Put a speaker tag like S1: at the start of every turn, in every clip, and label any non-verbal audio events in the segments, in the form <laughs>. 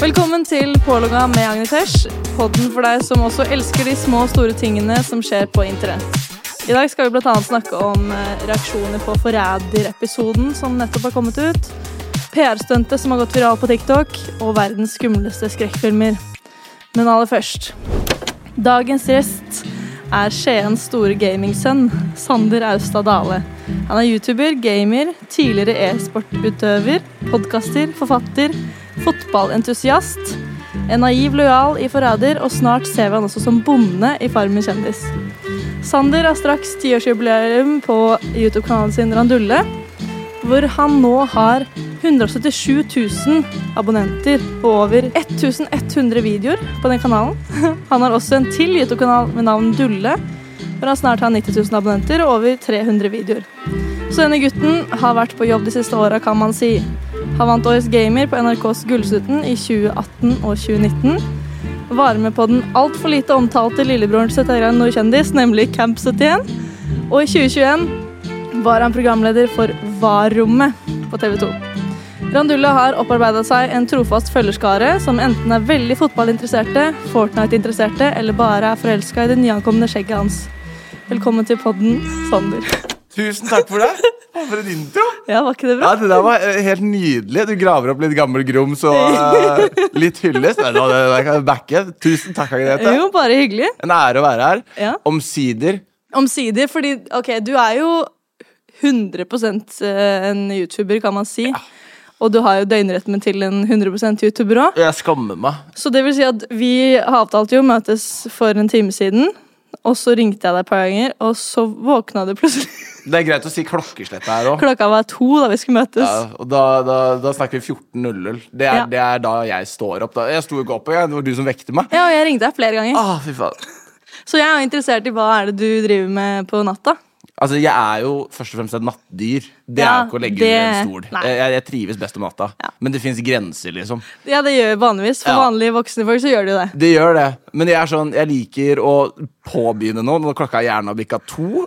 S1: Velkommen til Pålogga med Agnetesh, podden for deg som også elsker de små og store tingene som skjer på internett. I dag skal vi bl.a. snakke om eh, reaksjoner på Forræder-episoden som nettopp har kommet ut, PR-stuntet som har gått viral på TikTok, og verdens skumleste skrekkfilmer. Men aller først Dagens gjest er Skiens store gamingsønn, Sander Austad Dale. Han er YouTuber, gamer, tidligere e-sportutøver, podkaster, forfatter, fotballentusiast, en naiv lojal i Forræder, og snart ser vi han også som bonde i Farmen kjendis. Sander har straks tiårsjubileum på YouTube-kanalen sin Randulle, hvor han nå har 177 000 abonnenter på over 1100 videoer på den kanalen. <laughs> Han har også en til YouTube-kanal med navn Dulle, hvor han snart har 90 000 abonnenter og over 300 videoer. Så denne gutten har vært på jobb de siste åra, kan man si. Han vant Årets gamer på NRKs Gullsutten i 2018 og 2019. Var med på den altfor lite omtalte lillebroren til Setagran Nordkjendis, nemlig Camp 71. Og i 2021 var han programleder for VAR-rommet på TV 2. Randulla har opparbeida seg en trofast følgerskare som enten er veldig fotballinteresserte, Fortnite-interesserte eller bare er forelska i det nyankomne skjegget hans. Velkommen til podden, Sander. <laughs>
S2: Tusen takk for det. For en intro.
S1: Ja, var ikke det
S2: Ja,
S1: bra?
S2: Det der var eh, helt nydelig. Du graver opp litt gammel grums og eh, litt hyllest. Nei, nå, Det der kan jeg backe. Tusen takk, Agnete.
S1: Jo, bare hyggelig.
S2: En ære å være her.
S1: Ja.
S2: Omsider.
S1: Omsider, fordi ok, du er jo 100 en YouTuber, kan man si. Og du har jo døgnrytmen til en 100 YouTuber òg.
S2: Jeg skammer meg.
S1: Så det vil si at vi avtalte jo å møtes for en time siden. Og så ringte jeg deg et par ganger, og så våkna du plutselig. <laughs>
S2: Det er greit å si klokkeslettet her òg.
S1: Klokka var to da vi skulle møtes.
S2: Ja, og da, da, da snakker vi 14.00. Det,
S1: Ja.
S2: er- det er da jeg står opp. Da. Jeg sto ikke opp engang. Det var du som vekte meg.
S1: Ja, og jeg ringte deg flere ganger.
S2: Ah, fy faen.
S1: Så jeg er jo interessert i hva er det du driver med på natta.
S2: Altså, Jeg er jo først og fremst et nattdyr. Det er
S1: Ja,
S2: jo ikke å legge
S1: det-
S2: under en stol.
S1: nei.
S2: Jeg, jeg- jeg trives best om natta. Men det fins grenser, liksom.
S1: Ja, det gjør jeg vanligvis. For
S2: Ja.
S1: vanlige voksne folk så gjør de jo det.
S2: Det gjør det, men jeg er sånn Jeg liker å påbegynne noe når klokka gjerne har bikka
S1: <laughs>
S2: to.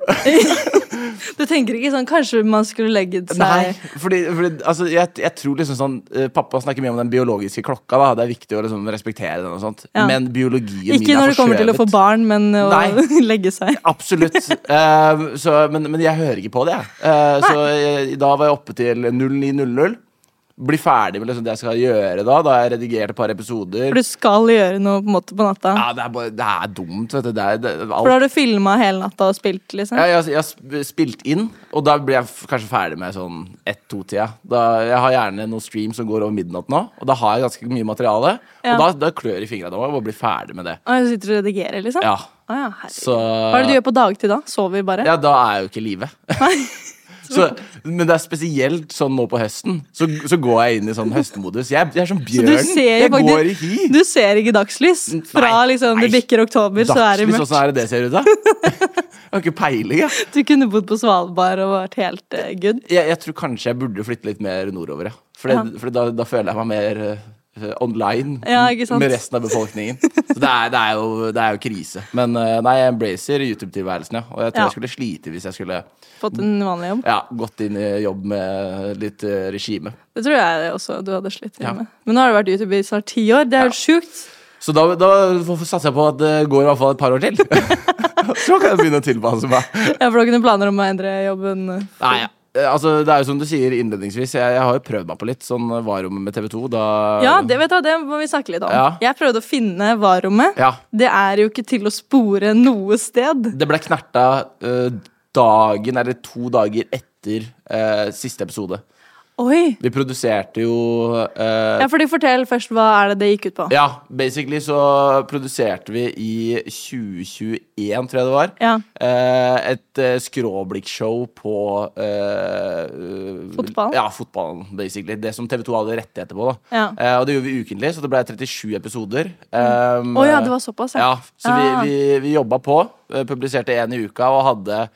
S1: Du tenker ikke sånn kanskje man skulle legge seg
S2: Nei, fordi, fordi altså, jeg, jeg tror liksom sånn eh, Pappa snakker mye om den biologiske klokka. da Det er viktig å liksom respektere den, og sånt
S1: Ja.
S2: men biologien min
S1: Ikke
S2: er
S1: når det kommer til å få
S2: forskjøvet.
S1: barn, men å
S2: Nei.
S1: <laughs> legge seg.
S2: Absolutt.
S1: <laughs>
S2: Eh, så, men, men jeg hører ikke på det, jeg. Eh, så jeg, da var jeg oppe til 09.00. Bli ferdig med liksom det jeg skal gjøre da. Da har jeg redigert et par episoder.
S1: For du skal gjøre noe på, en måte på natta.
S2: Ja, det, er bare, det er dumt, vet du. Det er, det, alt
S1: For da har du filma hele natta og spilt, liksom.
S2: Ja, jeg, jeg har sp- spilt inn, og da blir jeg f- kanskje ferdig med sånn ett-to-tida. Jeg har gjerne noen stream som går over midnatt nå, og da har jeg ganske mye materiale.
S1: Ja.
S2: Og da, da klør det i fingrene og bare blir ferdig med det.
S1: Og så sitter du og redigerer, liksom?
S2: Ja,
S1: Å ja, herregud.
S2: så eh,
S1: Hva er det du gjør på dagtid, da? Sover bare? <laughs>
S2: Ja, da er jeg jo ikke i live. <laughs> Så, men det er spesielt sånn nå på høsten. Så, så går jeg inn i sånn høstmodus. Jeg, jeg er som
S1: Så
S2: bjørn.
S1: du ser jo
S2: jeg går i
S1: faktisk
S2: hi.
S1: Du ser ikke dagslys. Fra
S2: Nei,
S1: liksom det
S2: nei.
S1: bikker oktober, så er det
S2: Dagslys,
S1: mørkt.
S2: åssen er det det ser ut, da? <laughs> Jeg har ikke peiling, jeg.
S1: <laughs> Du kunne bodd på Svalbard og vært helt eh, good.
S2: jeg, jeg tror kanskje jeg burde flytte litt mer nordover, ja. For, det, for da, da føler jeg meg mer eh, eh, online
S1: Ja, ikke sant?
S2: med resten av befolkningen. Så det er, det er, jo, det er jo krise. Men eh, nei, jeg embracer YouTube-tilværelsen, ja. Og jeg tror
S1: Ja.
S2: jeg skulle slite hvis jeg skulle
S1: Fått en vanlig jobb.
S2: ja, gått inn i jobb med litt eh, regime.
S1: Det tror jeg også du hadde slitt
S2: Ja.
S1: med. Men nå har du vært YouTuber i snart ti år. Det er jo sjukt.
S2: Så da, da satser jeg på at det går i hvert fall et par år
S1: <laughs>
S2: til. Så kan jeg begynne å tilpasse meg.
S1: Ja, for du har ikke noen planer om å endre jobben?
S2: Nei, ja. Eh, Altså, det er jo som du sier innledningsvis, jeg, jeg har jo prøvd meg på litt. Sånn var rommet med TV 2. Da
S1: Ja, det, vet du, hva, det må vi snakke litt om.
S2: Ja.
S1: Jeg prøvde å finne varrommet.
S2: Ja.
S1: Det er jo ikke til å spore noe sted.
S2: Det ble knerta eh, dagen eller to dager etter eh, siste episode.
S1: Oi!
S2: Vi produserte jo eh,
S1: Ja, fordi Fortell først, hva er det det gikk ut på?
S2: Ja, basically så produserte vi i 2021, tror jeg det var.
S1: Ja.
S2: eh, et eh, skråblikkshow på eh,
S1: Fotball?
S2: Ja, fotballen, basically. Det som TV2 hadde rettigheter på. da
S1: Ja.
S2: Eh, Og det gjorde vi ukentlig, så det ble 37 episoder. Um,
S1: Mm. Å ja, det var såpass, ja.
S2: ja. Så
S1: Ah.
S2: vi, vi, vi jobba på, eh, publiserte én i uka og hadde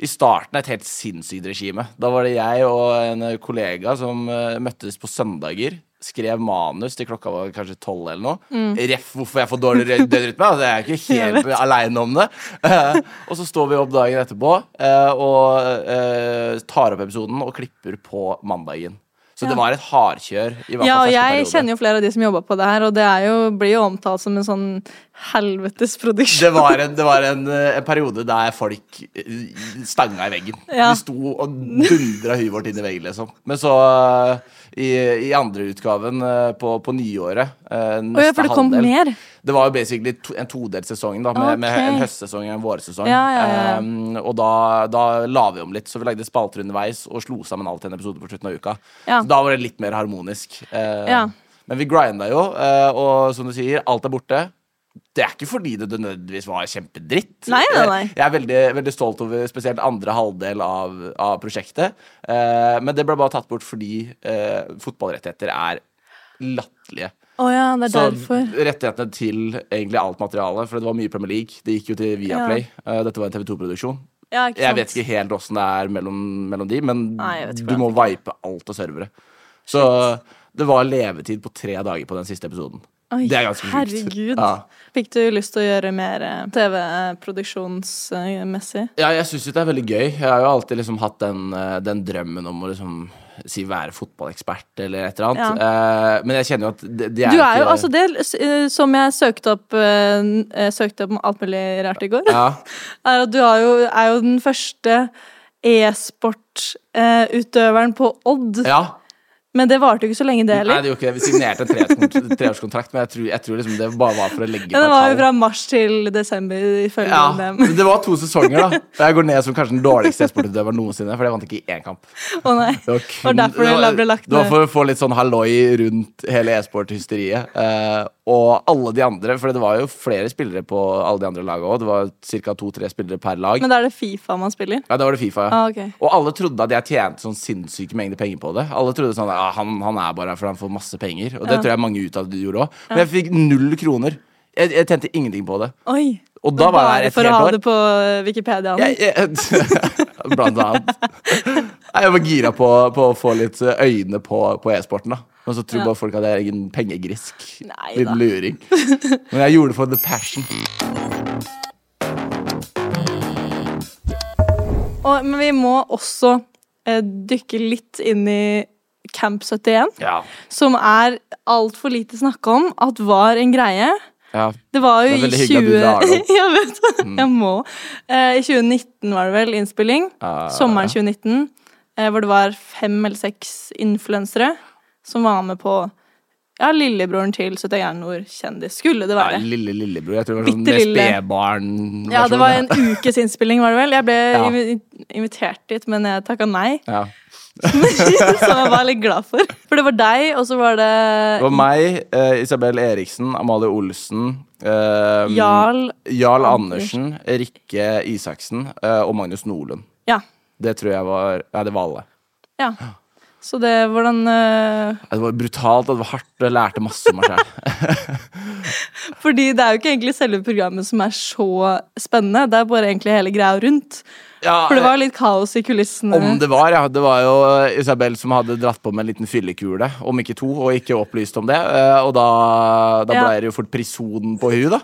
S2: i starten et helt sinnssykt regime. Da var det jeg og en eh, kollega som eh, møttes på søndager. Skrev manus til klokka var kanskje tolv eller noe.
S1: Mm.
S2: Ref hvorfor jeg får dårlig rø- døgnrytme. Altså, jeg er
S1: <laughs>
S2: ikke helt aleine om det. Eh, og så står vi opp dagen etterpå eh, og eh, tar opp episoden og klipper på mandagen. Så det var et hardkjør. I hvert fall
S1: Ja, og
S2: første
S1: jeg
S2: periode.
S1: kjenner jo flere av de som jobber på det her, og det er jo, blir jo omtalt som en sånn helvetes
S2: Det
S1: produksjon.
S2: var en, det var en, eh, en periode der folk eh, stanga i veggen.
S1: Ja.
S2: De sto og dundra huet vårt inn i veggen, liksom. Men så, eh, i, i andre utgaven eh, på, på nyåret eh, neste
S1: ja, for det kom
S2: halvdel,
S1: mer?
S2: Det var jo basically to, en todelt sesong, da, med, med
S1: Ok.
S2: en høstsesong og en vårsesong.
S1: Ja, ja, ja.
S2: Em, og da, da la vi om litt, så vi lagde spalter underveis og slo sammen alt i en episode på slutten av uka.
S1: Ja.
S2: Så da var det litt mer harmonisk. Eh,
S1: Ja.
S2: Men vi grinda jo, eh, og som du sier, alt er borte. Det er ikke fordi det nødvendigvis var kjempedritt.
S1: Nei, nei, nei.
S2: Jeg- Jeg er veldig, veldig stolt over spesielt andre halvdel av, av prosjektet. Eh, men det ble bare tatt bort fordi eh, fotballrettigheter er latterlige.
S1: Å ja, det er
S2: Så
S1: derfor.
S2: rettighetene til egentlig alt materiale, for det var mye Premier League. Det gikk jo til Viaplay. Eh, dette var en TV2-produksjon.
S1: Ja, ikke
S2: Jeg
S1: sant.
S2: vet ikke helt åssen det er mellom, mellom de, men
S1: Sånn. Nei, jeg vet ikke
S2: du
S1: hvordan
S2: må vipe alt av servere. Så det var levetid på tre dager på den siste episoden.
S1: Oi,
S2: det er ganske sjukt.
S1: herregud.
S2: Ja.
S1: Fikk du lyst til å gjøre mer eh, TV-produksjonsmessig?
S2: Ja, jeg syns jo det er veldig gøy. Jeg har jo alltid liksom hatt den, eh, den drømmen om å liksom si være fotballekspert eller et eller annet. Eh, men jeg kjenner jo at det, det er
S1: Du er jo
S2: ikke-
S1: altså det s- eh, som jeg søkte opp eh, n- eh, Søkte opp om alt mulig rart i går.
S2: Ja.
S1: Er at du har jo, er jo den første e-sportutøveren på Odd.
S2: ja.
S1: Men det varte jo ikke så lenge, det
S2: Nei,
S1: heller.
S2: det gjorde ikke det. Vi signerte en treårskont- <laughs> treårskontrakt, men jeg tror, jeg tror liksom det bare var for å legge på
S1: Men det var jo
S2: tall.
S1: fra mars til desember, ifølge
S2: Ja,
S1: dem. <laughs>
S2: men det var to sesonger, da. Og jeg går ned som kanskje den dårligste e-sportutøveren noensinne, for jeg vant ikke i én kamp.
S1: Å nei.
S2: Det var,
S1: Og derfor det la- ble lagt
S2: det var
S1: ned.
S2: for å få litt sånn halloi rundt hele e-sport-hysteriet. eh, og alle de andre, for det var jo flere spillere på alle de andre lagene òg. Det var ca. to-tre spillere per lag.
S1: Men da er det Fifa man spiller.
S2: Ja, da var det Fifa, ja.
S1: Ah, ok.
S2: Og alle trodde at jeg tjente sånn sinnssyke mengder penger på det. Alle trodde sånn ah, han, han er bare her fordi han får masse penger. Og det tror jeg mange ut av det gjorde òg. Men jeg fikk null kroner. Jeg, jeg tjente ingenting på det.
S1: Oi.
S2: Og da var
S1: Bare
S2: jeg her et
S1: for å
S2: helt
S1: ha
S2: år.
S1: det på eh, Wikipediaen.
S2: Jeg, jeg, <laughs> blant annet. Nei, Jeg var gira på, på å få litt eh, øyne på, på e-sporten, da. Men så tror
S1: Ja.
S2: bare folk at jeg er en pengegrisk.
S1: Nei da.
S2: Liten
S1: <laughs>
S2: luring. Men jeg gjorde det for the passion.
S1: Og, men vi må også eh, dykke litt inn i Camp 71,
S2: Ja.
S1: som er altfor lite snakka om at var en greie.
S2: ja.
S1: Det var jo
S2: Det er veldig
S1: i
S2: hyggelig
S1: 20...
S2: at du drar
S1: <laughs>
S2: det opp. Mm.
S1: jeg vet, jeg må. Eh, I 2019 var det vel innspilling.
S2: Ah, Ja,
S1: Sommeren 2019. Eh, hvor det var fem eller seks influensere som var med på ja, lillebroren til 71 Nord kjendis. Skulle det
S2: Ja,
S1: være.
S2: lille lillebror. Jeg tror det var sånn
S1: Bitte
S2: mer
S1: lille.
S2: spedbarn.
S1: Ja, det var en ukes innspilling, var det vel? Jeg ble
S2: Ja.
S1: invi- invitert dit, men jeg takka nei. <laughs>
S2: ja.
S1: Som jeg var litt glad for. For det var deg, og så var det
S2: Det var meg, eh, Isabel Eriksen, Amalie Olsen eh,
S1: Jarl
S2: Jarl Andersen, Rikke Isaksen eh, og Magnus Nordlund.
S1: Ja.
S2: Det tror jeg var Nei, det var alle.
S1: ja. Så det hvordan eh,
S2: Det var brutalt, det var hardt, og jeg lærte masse om meg sjøl.
S1: Fordi det er jo ikke egentlig selve programmet som er så spennende, det er bare egentlig hele greia rundt.
S2: Ja,
S1: For det var litt sånn, eh. kaos i kulissene.
S2: Om det var, ja. Det var jo Isabel som hadde dratt på med en liten fyllekule, om ikke to, og ikke opplyst om det. eh, Og da, da
S1: Ja.
S2: ble det jo fort prison på hun da.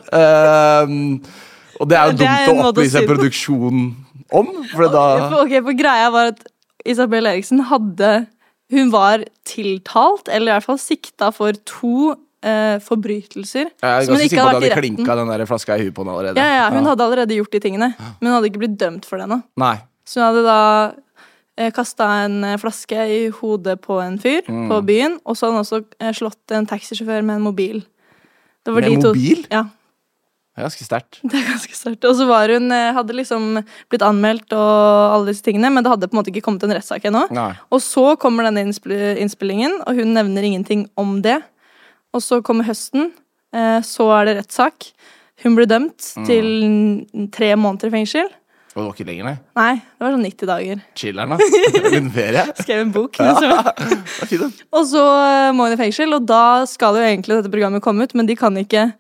S2: Eh, og det er jo
S1: Det er
S2: dumt
S1: en
S2: å
S1: måte å
S2: opplyse
S1: si det på.
S2: produksjonen om, for da
S1: For- Ok, for greia var at Isabel Eriksen hadde Hun var tiltalt, eller i hvert fall sikta for to eh, forbrytelser.
S2: Jeg er
S1: som hun
S2: ganske
S1: ikke
S2: sikker på at
S1: hadde vært i
S2: det hadde
S1: retten.
S2: klinka den der flaska i huet på henne allerede.
S1: Ja, ja, hun hadde allerede gjort de tingene, men hun hadde ikke blitt dømt for det ennå.
S2: Nei.
S1: Så hun hadde da kasta en eh, flaske i hodet på en fyr på
S2: Mm.
S1: byen, og så hadde hun også eh, slått en taxisjåfør med en mobil. Det var
S2: Med en
S1: de to-
S2: mobil?
S1: Ja, <laughs>
S2: Det er Ganske sterkt.
S1: det er ganske sterkt. Og så var hun, eh, hadde liksom blitt anmeldt og alle disse tingene, men det hadde på en måte ikke kommet en rettssak ennå.
S2: Nei.
S1: Og så kommer denne innspill- innspillingen, og hun nevner ingenting om det. Og så kommer høsten, eh, så er det rettssak. Hun ble dømt
S2: Mm.
S1: til n- tre måneder i fengsel.
S2: Og det var ikke lenger, nei.
S1: Nei, det var sånn 90 dager. <laughs>
S2: Chiller'n, da. Liten ferie.
S1: Skrev en
S2: <laughs>
S1: bok. Liksom.
S2: Det var fint, da.
S1: Og så eh, må hun i fengsel, og da skal jo egentlig dette programmet komme ut, men de kan ikke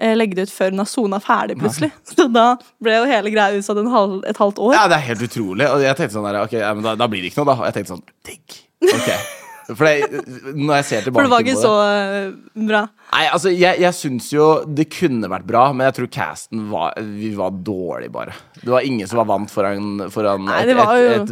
S1: eh, legge det ut før hun har sona ferdig, plutselig. <laughs> Så da ble jo hele greia utsatt en halv, et halvt år.
S2: Ja, det er helt utrolig. Og jeg tenkte sånn der, ok, ja, men da, da blir det ikke noe, da. Og jeg tenkte sånn, digg. Ok. For det, når jeg ser tilbake
S1: for det var
S2: på
S1: ikke så eh, bra.
S2: Nei, altså, jeg, jeg syns jo det kunne vært bra, men jeg tror casten var Vi var dårlige, bare. Det var ingen som var vant foran, foran
S1: Nei,
S2: et,
S1: det var
S2: et,
S1: jo-
S2: et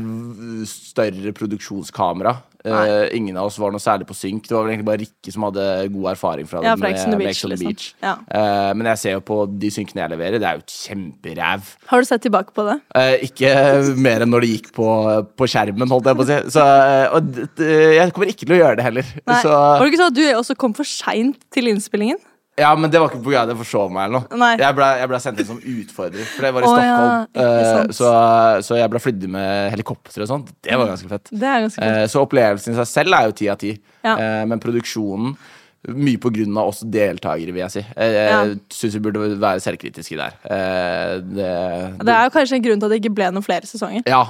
S2: v- større produksjonskamera. Eh, ingen av oss var noe særlig på synk. Det var vel egentlig bare Rikke som hadde god erfaring fra
S1: Ja,
S2: det.
S1: fra Ex on the Beach,
S2: Ex on the
S1: liksom.
S2: Beach.
S1: Ja.
S2: Eh, men jeg ser jo på de synkene jeg leverer, det er jo et kjemperæv.
S1: Har du sett tilbake på det?
S2: Eh, ikke mer enn når det gikk på, på skjermen, holdt jeg på å si. Så, eh, og d- d- jeg kommer ikke til å gjøre det heller.
S1: Nei.
S2: Så,
S1: Var det ikke sånn at du også kom for seint til innspillingen?
S2: Ja, men det var ikke på grunn av at jeg forsov meg eller noe.
S1: Nei.
S2: Jeg ble, jeg ble sendt inn som utfordrer, for det var i
S1: Å, ja,
S2: Stockholm.
S1: ikke
S2: Eh,
S1: sant.
S2: så, så jeg ble flydd med helikopter og sånt. Det var ganske fett.
S1: Det er ganske kult.
S2: Eh, så opplevelsen i seg selv er jo ti av ti.
S1: Ja.
S2: Eh, men produksjonen mye på grunn av oss deltakere, vil jeg si. Eh,
S1: Ja.
S2: Jeg syns vi burde være selvkritiske der. Eh, det,
S1: Det er jo kanskje en grunn til at det ikke ble noen flere sesonger.
S2: Ja.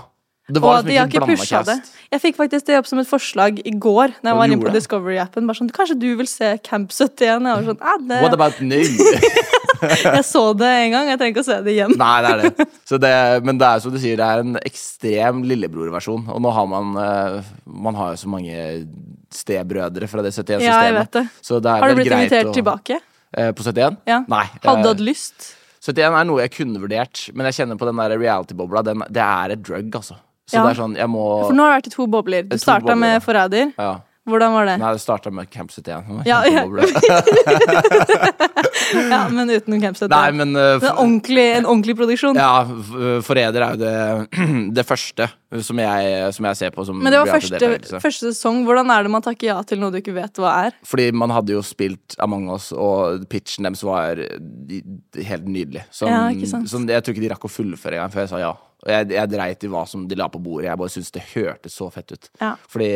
S2: Det
S1: Og
S2: var liksom
S1: de har
S2: ikke
S1: ikke
S2: blanda
S1: pusha det.
S2: cast.
S1: Jeg fikk faktisk det opp som et forslag i går Når jeg
S2: du
S1: var inne
S2: gjorde
S1: på
S2: det?
S1: Discovery-appen. Bare sånn, Kanskje du vil se Camp 71? Jeg var sånn, «Ah,
S2: What
S1: det, <laughs>
S2: about now?
S1: jeg så det en gang, jeg trenger ikke å se det igjen.
S2: Nei, det er det. Så det. Men det er som du sier, det er en ekstrem lillebrorversjon. Og nå har man eh, Man har jo så mange stebrødre fra det 71-systemet.
S1: Ja, jeg vet det.
S2: Så det er
S1: Har du
S2: vel
S1: blitt
S2: greit
S1: invitert
S2: å-
S1: tilbake?
S2: Eh, på 71?
S1: Ja.
S2: Nei.
S1: Hadde du
S2: eh,
S1: hatt lyst?
S2: 71 er noe jeg kunne vurdert, men jeg kjenner på den der reality-bobla. Den, det er et drug, altså. Så
S1: Ja.
S2: det er sånn, jeg må
S1: For nå har det vært i to bobler. Du
S2: to
S1: starta
S2: bobler, ja.
S1: med Forræder.
S2: ja.
S1: Hvordan var det?
S2: Nei, det starta med Camp 71.
S1: Ja, ja. <laughs>
S2: Kjempebobla.
S1: Ja, Men utenom Camp 71.
S2: Nei, men eh,
S1: det er ordentlig, en ordentlig produksjon.
S2: ja, f- Forræder er jo det, det <clears throat> første som jeg, som jeg ser på som
S1: Men det var første,
S2: reality-deltakelse.
S1: første sesong. Hvordan er det man takker ja til noe du ikke vet hva er?
S2: Fordi man hadde jo spilt Among Us, og pitchen deres var i- helt nydelig. Som,
S1: Ja, ikke sant?
S2: som jeg tror ikke de rakk å fullføre engang før jeg sa ja. Og jeg, jeg dreit i hva som de la på bordet, jeg bare syntes det hørtes så fett ut.
S1: Ja.
S2: Fordi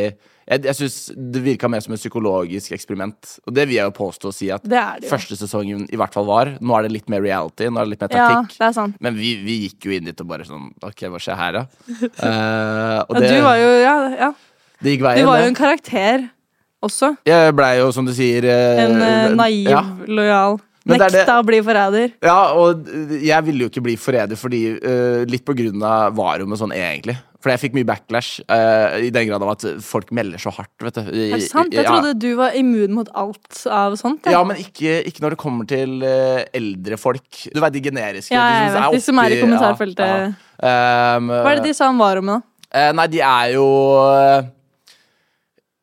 S2: jeg, jeg syns det virka mer som et psykologisk eksperiment. Og det vil jeg jo påstå å si at
S1: Det er det jo.
S2: første sesongen i hvert fall var. Nå er det litt mer reality, nå er det litt mer
S1: Ja,
S2: taktikk.
S1: det er sant.
S2: Men vi, vi gikk jo inn dit og bare sånn OK, hva skjer
S1: <laughs>
S2: her, da? Eh, og
S1: Ja,
S2: det,
S1: du var jo, ja, ja.
S2: det gikk
S1: Du
S2: veien.
S1: var
S2: det.
S1: jo en karakter også.
S2: Jeg blei jo, som du sier eh,
S1: En eh, naiv,
S2: ja.
S1: lojal.
S2: Men det er
S1: Nekta
S2: det-
S1: å bli forræder.
S2: Ja, og jeg ville jo ikke bli forræder fordi eh, Litt på grunn av varummet sånn egentlig. For jeg fikk mye backlash eh, i den grad av at folk melder så hardt, vet du.
S1: Er det sant? Jeg trodde du var immun mot alt av sånt. jeg.
S2: ja, men ikke, ikke når det kommer til eh, eldre folk. Du vet de generiske.
S1: Ja, jeg vet, de som er i
S2: oppi-
S1: kommentarfeltet.
S2: ja. Um,
S1: Hva er det de sa om Varum, da?
S2: Eh, nei, de er jo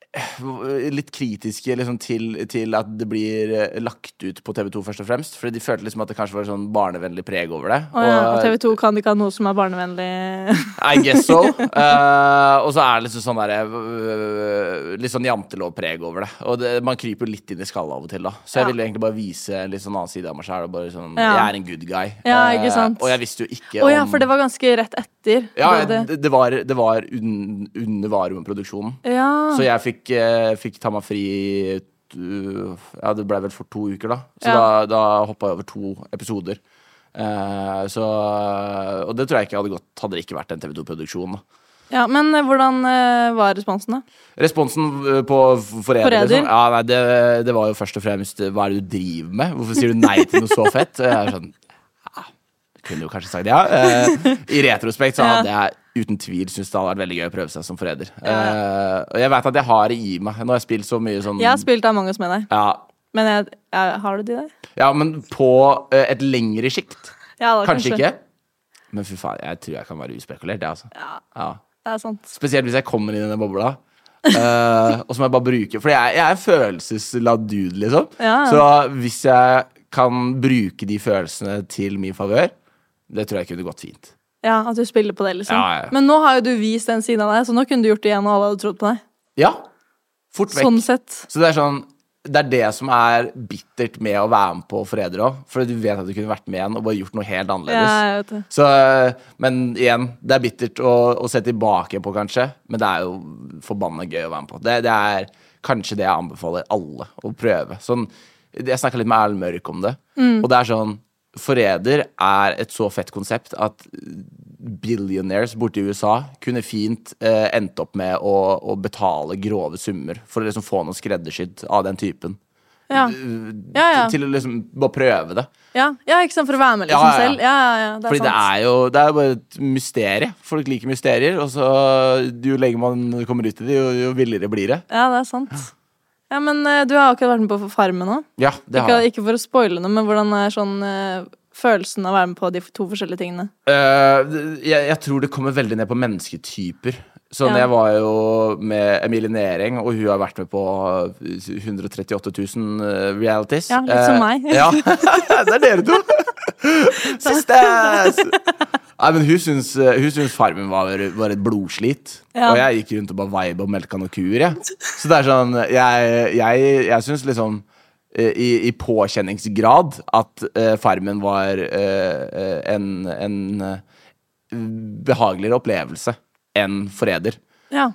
S2: eh, litt kritiske liksom, til, til at det blir eh, lagt ut på TV2, først og fremst. Fordi de følte liksom at det kanskje var sånn barnevennlig preg over det.
S1: Å, ja,
S2: Og-
S1: TV 2 kan ikke ha noe som er
S2: <laughs>
S1: barnevennlig.
S2: I guess so. Eh, og så er det liksom sånn der, øh, litt sånn jantelovpreg over det. Og det, man kryper jo litt inn i skallet av og til, da. Så jeg
S1: Ja.
S2: ville egentlig bare vise en litt sånn annen side av meg sjæl. Sånn,
S1: Ja.
S2: Jeg er en good guy.
S1: Ja, ikke
S2: Eh,
S1: sant.
S2: og jeg visste jo ikke
S1: Å ja,
S2: om
S1: for det var ganske rett etter.
S2: ja,
S1: Du hadde-
S2: det, det var, det var un, under varuproduksjonen.
S1: ja.
S2: Så jeg fikk, eh, fikk ta meg fri i t- uh, Ja, det ble vel for to uker, da. Så
S1: Ja.
S2: da, da hoppa jeg over to episoder. Eh, så, og det tror jeg ikke hadde gått hadde det ikke vært en TV2-produksjon. da
S1: Ja, Men eh, hvordan eh, var responsen, da?
S2: Responsen eh, på f- forræder
S1: Forræder?
S2: liksom. ja, nei, det, det var jo først og fremst eh, Hva er det du driver med? Hvorfor sier du nei til noe så fett? Og jeg er sånn ja, jeg Kunne jo kanskje sagt ja. Eh, I retrospekt så hadde jeg uten tvil syntes det hadde vært veldig gøy å prøve seg som forræder. Eh, og jeg veit at jeg har det i meg. Nå har jeg spilt så mye sånn
S1: Jeg har spilt Among us med deg.
S2: ja,
S1: Men jeg, jeg, har du de der?
S2: ja, men på eh, et lengre sikt.
S1: Ja, da,
S2: Kanskje ikke. Men fy faen, jeg tror jeg kan være uspekulert, jeg, altså. Ja.
S1: Det er sant.
S2: Spesielt hvis jeg kommer inn i den bobla. Eh, og så må jeg bare bruke For jeg, jeg er en følelsesladd dude, liksom.
S1: Ja, ja.
S2: Så hvis jeg kan bruke de følelsene til min favør, det tror jeg kunne gått fint.
S1: Ja, At du spiller på det, liksom.
S2: Ja, ja, ja.
S1: Men nå har jo du vist den siden av deg, så nå kunne du gjort det igjen, og alle hadde trodd på deg.
S2: Ja, fort vekk.
S1: Sånn sett.
S2: Så det er sånn Det er det som er bittert med å være med på Forræder òg. For du vet at du kunne vært med igjen og bare gjort noe helt
S1: Ja,
S2: annerledes.
S1: jeg vet det.
S2: Så, men igjen, det er bittert å, å se tilbake på, kanskje. Men det er jo forbanna gøy å være med på. Det, det er kanskje det jeg anbefaler alle å prøve. Sånn, jeg snakka litt med Erlend Mørk om det.
S1: Mm.
S2: Og det er sånn Forræder er et så fett konsept at billionaires borte i USA kunne fint eh, endt opp med å, å betale grove summer for å liksom få noe skreddersydd av den typen.
S1: Ja. Ja, ja.
S2: Til å liksom bare prøve det.
S1: Ja, ja, ikke sant, for å være med liksom
S2: Ja, ja, ja.
S1: selv. Ja, ja, ja, det er
S2: Fordi det
S1: sant.
S2: er jo det er jo bare et mysterium. Folk liker mysterier, og så jo lenger man kommer ut i det, jo, jo villere blir det.
S1: Ja, det er sant. Ja, men eh, du har akkurat vært med på Farmen nå.
S2: Ja, det
S1: Ikke,
S2: har jeg.
S1: ikke for å spoile noe, men hvordan er sånn eh, følelsen av å være med på de to forskjellige tingene?
S2: Eh, jeg, jeg tror det kommer veldig ned på mennesketyper. Sånn,
S1: Ja.
S2: Jeg var jo med Emilie Næring, og hun har vært med på 138 000 eh, realities.
S1: Ja, litt som
S2: Eh,
S1: meg.
S2: ja, <laughs> Det
S1: <laughs>
S2: er dere to! Sisters! Nei, men hun syns, eh, hun syns farmen var, var et blodslit.
S1: Ja.
S2: Og jeg gikk rundt og bare veiba og melka noen kuer. Jeg. Så det er sånn Jeg, jeg, jeg syns liksom eh, i, I påkjenningsgrad at eh, Farmen var eh, eh, en, en eh, behageligere opplevelse enn Forræder.
S1: Ja.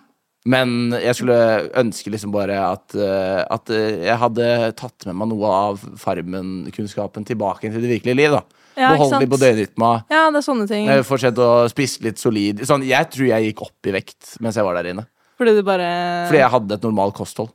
S2: Men jeg skulle ønske liksom bare at, eh, at eh, jeg hadde tatt med meg noe av Farmen-kunnskapen tilbake til det virkelige liv. da.
S1: Ja, ikke
S2: Beholde litt på døgnrytma.
S1: ja, det er sånne ting.
S2: eh, Fortsette å spise litt solid. Sånn, jeg tror jeg gikk opp i vekt mens jeg var der inne.
S1: Fordi du bare
S2: Fordi jeg hadde et normalt kosthold.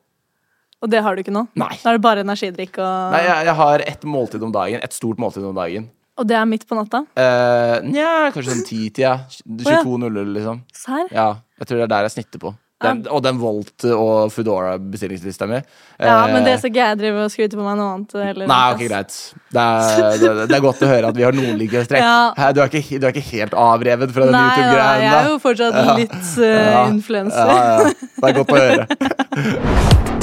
S1: Og det har du ikke nå?
S2: Nei.
S1: Da er det bare energidrikk og
S2: Nei, jeg, jeg har ett måltid om dagen. Et stort måltid om dagen.
S1: Og det er midt på natta?
S2: Eh, Nja, kanskje sånn 10-tida. 22.00, liksom.
S1: Serr?
S2: Ja, jeg tror det er der jeg snitter på. Den, og den Volt og Foodora-bestillingslista mi.
S1: Ja, men det
S2: Eh,
S1: skal ikke jeg drive og skryte på meg noe annet. Eller,
S2: Nei, ok, greit. Det er, det, det er godt å høre at vi har noen likhetstrekk.
S1: Ja.
S2: Hæ, Du, er ikke- du er ikke helt avrevet fra den
S1: Nei, da,
S2: YouTube-greien?
S1: jeg er
S2: da?
S1: jo fortsatt litt uh, influenser.
S2: Ja, ja. Det er godt å høre.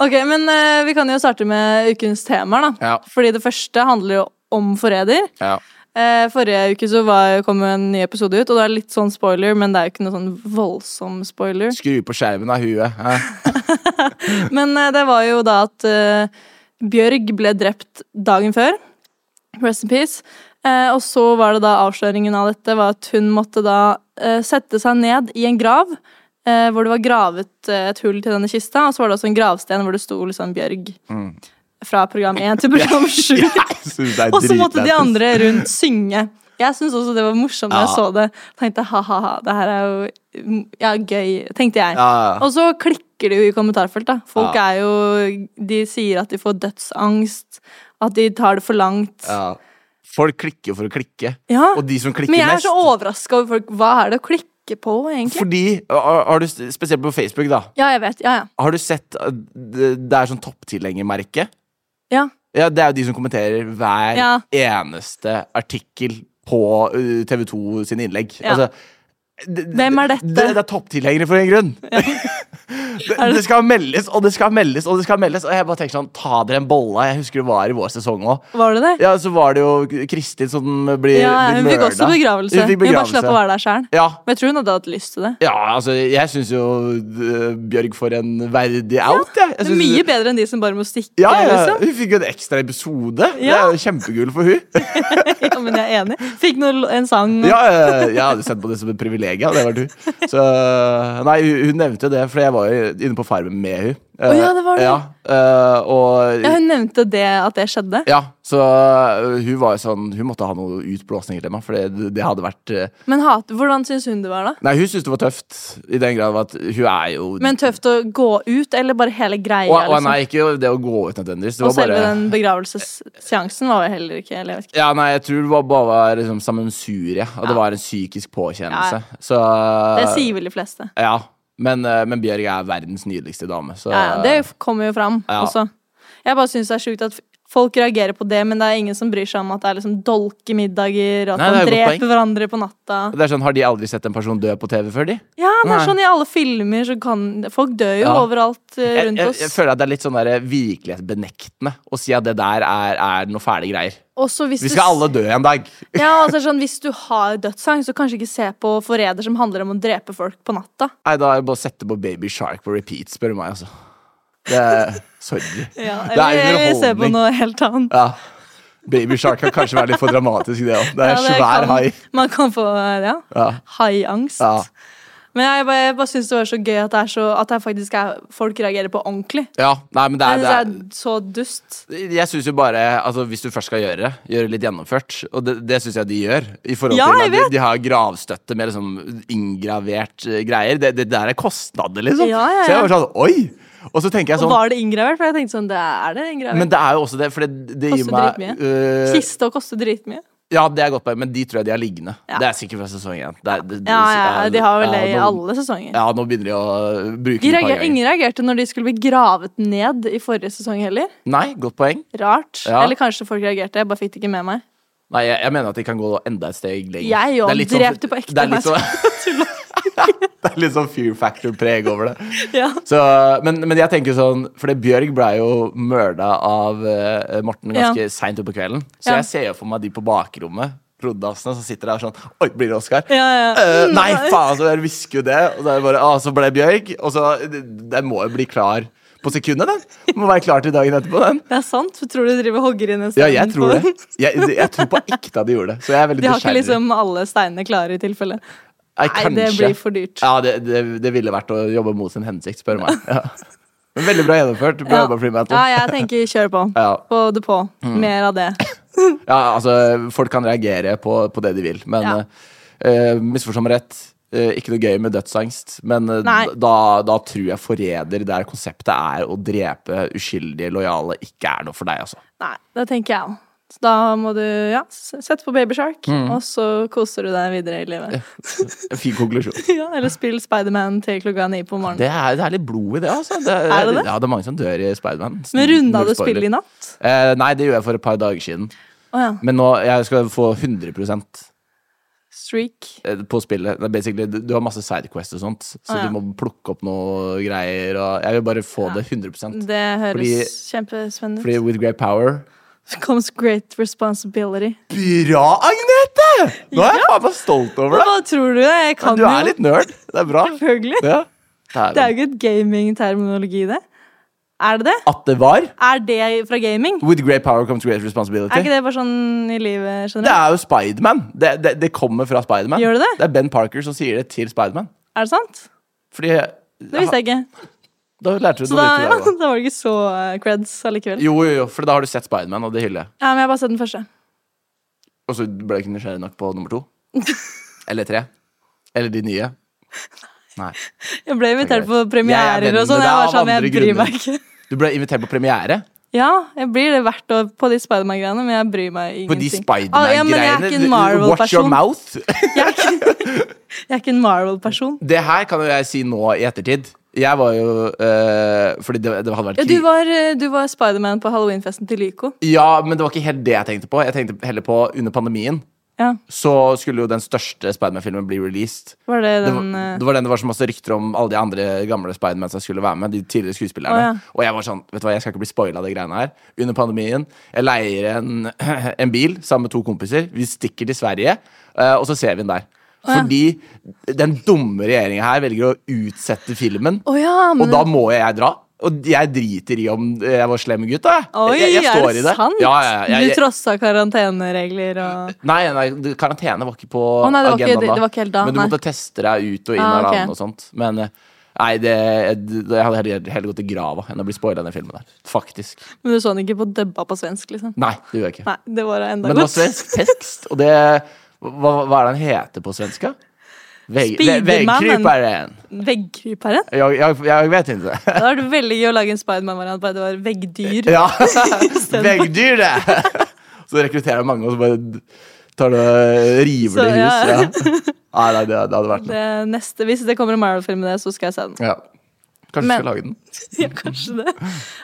S1: Ok, men eh, vi kan jo starte med ukens temaer, da.
S2: Ja.
S1: Fordi det første handler jo om forræder.
S2: Ja.
S1: Eh, forrige uke så var, kom en ny episode ut, og det er litt sånn spoiler, men det er jo ikke noe sånn voldsom spoiler.
S2: Skru på skjermen av huet. hæ?
S1: <laughs> Men eh, det var jo da at eh, Bjørg ble drept dagen før. Rest in peace. Eh, og så var det da avsløringen av dette var at hun måtte da eh, sette seg ned i en grav. Eh, hvor det var gravet eh, et hull til denne kista, og så var det også en gravsten hvor det sto liksom Bjørg.
S2: Mm.
S1: Fra program 1 til
S2: <laughs>
S1: program 7.
S2: Jeg synes det er
S1: <laughs> Og så måtte de
S2: dritlættis.
S1: andre rundt synge. Jeg syns også det var morsomt da jeg så det. Tenkte ha-ha-ha, det her er jo mm, ja, gøy, tenkte jeg.
S2: Ja, ja.
S1: Og så klikker det jo i kommentarfelt, da. Folk er jo De sier at de får dødsangst, at de tar det for langt. <laughs> Ja.
S2: Ja. Folk klikker for å klikke. Og de som klikker
S1: Men jeg er
S2: mest
S1: så overraska over folk. Hva er det å klikke på, egentlig?
S2: Fordi, har har du, Spesielt på Facebook, da.
S1: Ja, jeg vet. Ja, ja.
S2: Har du sett at det det er sånn topptilhengermerke?
S1: Ja,
S2: Ja, det er jo de som kommenterer hver
S1: Ja.
S2: eneste artikkel på uh, TV2 sine innlegg.
S1: Ja.
S2: Altså, d- d-
S1: Hvem er dette?
S2: Det, det er topptilhengere for en grunn. <laughs> det, det skal meldes, og det skal meldes, og det skal meldes. Og jeg bare tenker sånn, ta dere en bolle. Jeg husker det var i vår sesong òg.
S1: Var det det?
S2: Ja, så var det jo Kristin som blir
S1: Ja,
S2: blir
S1: hun fikk også
S2: mørda.
S1: begravelse.
S2: Hun fikk
S1: Hun bare slapp å
S2: begravelse.
S1: være der sjæl.
S2: Ja.
S1: Men jeg tror hun hadde hatt lyst til det.
S2: ja, altså, jeg syns jo uh, Bjørg får en verdig out, jeg. jeg
S1: Det er
S2: synes-
S1: mye bedre enn de som bare må stikke.
S2: ja, ja.
S1: Liksom. <laughs>
S2: Hun fikk jo en ekstra episode. Det
S1: Ja.
S2: er jo kjempegull for
S1: <laughs>
S2: hun
S1: ja, men jeg er enig. Fikk noe, en sang. og-
S2: Ja, eh, jeg hadde sett på det som et privilegium. Det var du. Så, nei, hun hun nevnte jo det, for jeg var jo eh, inne på Farmen med hun.
S1: Å ja, det var det.
S2: Ja, eh, og
S1: Ja, hun nevnte det, at det skjedde.
S2: ja, så øh, hun var jo sånn Hun måtte ha noe utblåsninger til meg, for det, det hadde vært øh,
S1: Men hat, hvordan syns hun det var, da?
S2: Nei, hun syntes det var tøft, i den grad at hun er jo
S1: Men tøft å gå ut, eller bare hele greia?
S2: og, og
S1: liksom?
S2: nei, ikke det å gå ut nødvendigvis. Det
S1: og
S2: var
S1: selve
S2: bare
S1: den begravelsesseansen var jo heller ikke eller jeg vet ikke.
S2: Ja, nei, jeg tror det var bare var liksom sammensurie, og det var en psykisk
S1: Ja.
S2: påkjennelse. Så
S1: Det sier vel de fleste.
S2: Ja. Men, øh, men Bjørg er verdens nydeligste dame, så
S1: Ja, ja, det kommer jo fram
S2: Ja.
S1: også. Jeg bare syns det er sjukt at f- folk reagerer på det, men det er ingen som bryr seg om at det er liksom dolkemiddager, og at
S2: Nei, det
S1: man
S2: er et godt
S1: dreper
S2: poeng.
S1: hverandre på natta.
S2: det er sånn, Har de aldri sett en person dø på TV før, de?
S1: Ja, det er
S2: Nei.
S1: sånn i alle filmer, så kan Folk dør jo
S2: Ja.
S1: overalt eh,
S2: Jeg,
S1: rundt
S2: jeg,
S1: oss.
S2: jeg føler at det er litt sånn der virkelighetsbenektende å si at det der er, er noe fæle greier.
S1: Også hvis
S2: Vi
S1: du
S2: skal
S1: s-
S2: alle dø en dag.
S1: ja, altså, sånn, Hvis du har dødsangst, så kanskje ikke se på forræder som handler om å drepe folk på natta.
S2: Nei, da er det bare å sette på Baby Shark på repeat, spør du meg, altså. Det er,
S1: <laughs>
S2: sorry. det er
S1: Eller se på noe helt annet.
S2: Ja. Baby Shark kan kanskje være litt for dramatisk, det òg. Det er
S1: Ja, det
S2: svær
S1: kan-
S2: hai.
S1: Man kan få ja, haiangst.
S2: Ja.
S1: Men jeg bare, jeg bare syns det var så gøy at det, er så, at det faktisk er folk reagerer på ordentlig.
S2: Ja, nei, men det
S1: Jeg
S2: er,
S1: synes
S2: det
S1: det
S2: er
S1: er så dust.
S2: jeg syns jo bare altså Hvis du først skal gjøre det, gjøre det litt gjennomført. Og det, det syns jeg de gjør. I forhold
S1: Ja,
S2: til
S1: jeg
S2: at de,
S1: vet.
S2: de har gravstøtte med liksom inngravert eh, greier. Det, det der er kostnader, liksom.
S1: Ja, ja,
S2: Så jeg
S1: ja.
S2: var sånn Oi! Og så tenker jeg
S1: Og
S2: sånn
S1: var det inngravert? For jeg tenkte sånn, det er det
S2: Men
S1: inngravert.
S2: det er jo også det, for det, det gir
S1: Koster
S2: meg
S1: dritmye.
S2: øh,
S1: Kiste og koste dritmye.
S2: Ja, det er godt poeng, men de tror jeg de har liggende.
S1: Ja.
S2: Det er sikkert fra sesong én. Det er- det- det-
S1: Ja, ja, ja, de har vel det i
S2: nå-
S1: alle sesonger.
S2: Ja, nå begynner de å bruke
S1: De
S2: det et
S1: reager,
S2: par ganger.
S1: ingen reagerte når de skulle bli gravet ned i forrige sesong heller.
S2: Nei, godt poeng.
S1: Rart.
S2: Ja.
S1: Eller kanskje folk reagerte, jeg bare fikk det ikke med meg.
S2: Nei, jeg, jeg mener at de kan gå enda et steg lenger.
S1: Jeg
S2: Det er
S1: òg
S2: litt sånn-
S1: drepte på ekte.
S2: Det er litt
S1: nei,
S2: sånn, <laughs> det er litt sånn fear factor-preg over det.
S1: <laughs> ja.
S2: Så, men, men jeg tenker sånn Fordi Bjørg ble jo mørda av eh, Morten
S1: Ja.
S2: ganske seint utpå kvelden. Så
S1: Ja.
S2: jeg ser jo for meg de på bakrommet, roddassene, som sitter der sånn Oi, blir det Oscar?
S1: Ja, ja. Mm,
S2: Eh, nei, faen, så jeg hvisker jo det. Og så, er det bare, ah, så ble det Bjørg. Og så Den må jo bli klar på sekundet, den. Må være klar til dagen etterpå, den.
S1: Det er sant. for Tror du de driver og hogger inn en
S2: Ja,
S1: stein?
S2: jeg tror
S1: på-
S2: det. Jeg, det- jeg tror på ekte at de gjorde det. Så jeg er veldig
S1: De har ikke
S2: nysgjerrig.
S1: liksom alle steinene klare i tilfelle.
S2: Nei,
S1: Nei, det
S2: kanskje.
S1: blir for dyrt.
S2: Ja, det, det, det ville vært å jobbe mot sin hensikt, spør du meg. Ja. Men veldig bra gjennomført. Bra jobba, Fremantle.
S1: ja, jeg tenker kjør på.
S2: Ja. Mm.
S1: Få det på. Mer av det.
S2: Ja, altså, folk kan reagere på, på det de vil, men
S1: Ja.
S2: eh, eh, misforstå meg rett. eh, ikke noe gøy med dødsangst, men eh,
S1: Nei.
S2: da, da tror jeg forræder der konseptet er å drepe uskyldige, lojale, ikke er noe for deg, altså.
S1: Nei, det tenker jeg òg. Så da må du ja, s- sette på Baby Shark,
S2: Mm.
S1: og så koser du deg videre i livet.
S2: En fin konklusjon.
S1: <laughs> Ja, eller spill Spiderman til klokka ni på morgenen.
S2: Det er, det er litt blod i det, altså. Det,
S1: Er det det?
S2: Ja, det er mange som dør i Spiderman.
S1: Men runda
S2: Null
S1: du
S2: spoiler.
S1: spillet i natt?
S2: Eh, nei, det gjorde jeg for et par dager siden.
S1: Å ja.
S2: Men nå jeg skal få 100
S1: Streak.
S2: på spillet. Det er basically, du du har masse sidequests og sånt, så
S1: Ah, ja.
S2: du må plukke opp noe greier. Og jeg vil bare få det 100
S1: Det
S2: Fordi-
S1: høres kjempespennende
S2: Fordi
S1: ut.
S2: with great power
S1: Comes great responsibility.
S2: Bra, Agnete! Nå er jeg faen meg stolt over deg.
S1: Hva tror du? Jeg kan
S2: Du
S1: jo
S2: er litt nerd. Det er bra.
S1: Selvfølgelig.
S2: Ja.
S1: Det er jo ikke et gaming-terminologi, det. Er det det?
S2: At det var
S1: Er det fra gaming?
S2: With great power comes great
S1: Er
S2: responsibility.
S1: ikke det bare sånn i livet
S2: Det
S1: generelt?
S2: er jo Spiderman. Det, det, det kommer fra Spiderman.
S1: Gjør det det?
S2: det er Ben Parker som sier det til Spiderman.
S1: Er det sant?
S2: Fordi
S1: Det visste jeg ikke.
S2: Da lærte du
S1: Så
S2: noe
S1: da,
S2: nytt i
S1: ja,
S2: dag. da.
S1: <laughs> da var det ikke så eh, creds allikevel.
S2: Jo, jo, jo, for da har du sett Spiderman, og det hyller jeg.
S1: Ja, men jeg har bare sett den første.
S2: Og så ble jeg ikke nysgjerrig nok på
S1: <laughs>
S2: nummer to. Eller tre. Eller de nye. Nei.
S1: Jeg ble invitert
S2: Det er
S1: på
S2: greit. Jeg er
S1: premierer
S2: venn
S1: og sånn.
S2: med deg
S1: Jeg var
S2: av
S1: sånn,
S2: andre
S1: jeg bryr
S2: grunner.
S1: meg ikke.
S2: Du ble invitert på premiere.
S1: Ja, jeg blir det hvert år på de Spiderman-greiene, men jeg bryr meg
S2: På de
S1: ingenting. Ah, ja, men jeg er ikke
S2: Spiderman-greiene.
S1: en
S2: Watch your
S1: Marvel-person.
S2: mouth. <laughs>
S1: Jeg er ikke- jeg er ikke en Marvel-person.
S2: Det her kan jo jeg si nå i ettertid. Jeg var jo øh, Fordi det, det hadde vært
S1: Ja, du
S2: krig.
S1: var, eh, du var Spiderman på halloweenfesten til Lyco.
S2: Ja, men det var ikke helt det jeg tenkte på. Jeg tenkte heller på Under pandemien
S1: Ja,
S2: så skulle jo den største Spiderman-filmen bli released.
S1: var det
S2: Det var,
S1: den eh,
S2: det var den det var så masse rykter om alle de andre gamle Spiderman som skulle være med. De tidligere skuespillerne
S1: Å, ja.
S2: Og jeg var sånn, vet du hva, jeg skal ikke bli spoila av de greiene her. Under pandemien. Jeg leier en, <clears throat> en bil sammen med to kompiser. Vi stikker til Sverige, eh, og så ser vi den der. Fordi den dumme regjeringa her velger å utsette filmen.
S1: Å ja, men-
S2: Og da må jeg dra. Og jeg driter i om jeg var slem gutt, da. jeg.
S1: Oi,
S2: jeg, jeg, jeg står
S1: er
S2: i
S1: det
S2: det.
S1: sant?
S2: Ja, ja, ja, jeg,
S1: Du trossa karanteneregler og
S2: Nei, nei, du- karantene var ikke på
S1: nei, det var ikke-
S2: agendaen
S1: det-
S2: da.
S1: det var ikke helt da,
S2: men du
S1: nei.
S2: måtte teste deg ut og inn
S1: Ah,
S2: av
S1: ok.
S2: landet og sånt. Men eh, Nei, det, det, jeg hadde heller, heller gått i grava enn å bli spoila den filmen der. Faktisk.
S1: Men du så den ikke på dubba på svensk, liksom?
S2: Nei, det gjorde jeg ikke.
S1: Nei, det var da enda
S2: Men det var
S1: godt.
S2: svensk tekst, og det Hva, hva er det den heter på svensk? da? Vegg-
S1: Spidermannen.
S2: Veggkryperen.
S1: Veggkryperen?
S2: Jeg, jeg, jeg vet ikke.
S1: Det hadde vært veldig gøy å lage en Spiderman-variant, bare det var veggdyr.
S2: <laughs> Ja.
S1: stedet.
S2: Veggdyret! <laughs> Så rekrutterer jeg mange, og så bare tar det og river
S1: Så,
S2: det i
S1: ja.
S2: hus. Ja. Nei, nei, det, det hadde vært noe.
S1: Det neste, hvis det kommer en Marvel-film med det, så skal jeg se den.
S2: Ja. Kanskje vi
S1: Men-
S2: skal lage den.
S1: <laughs> Ja, kanskje det.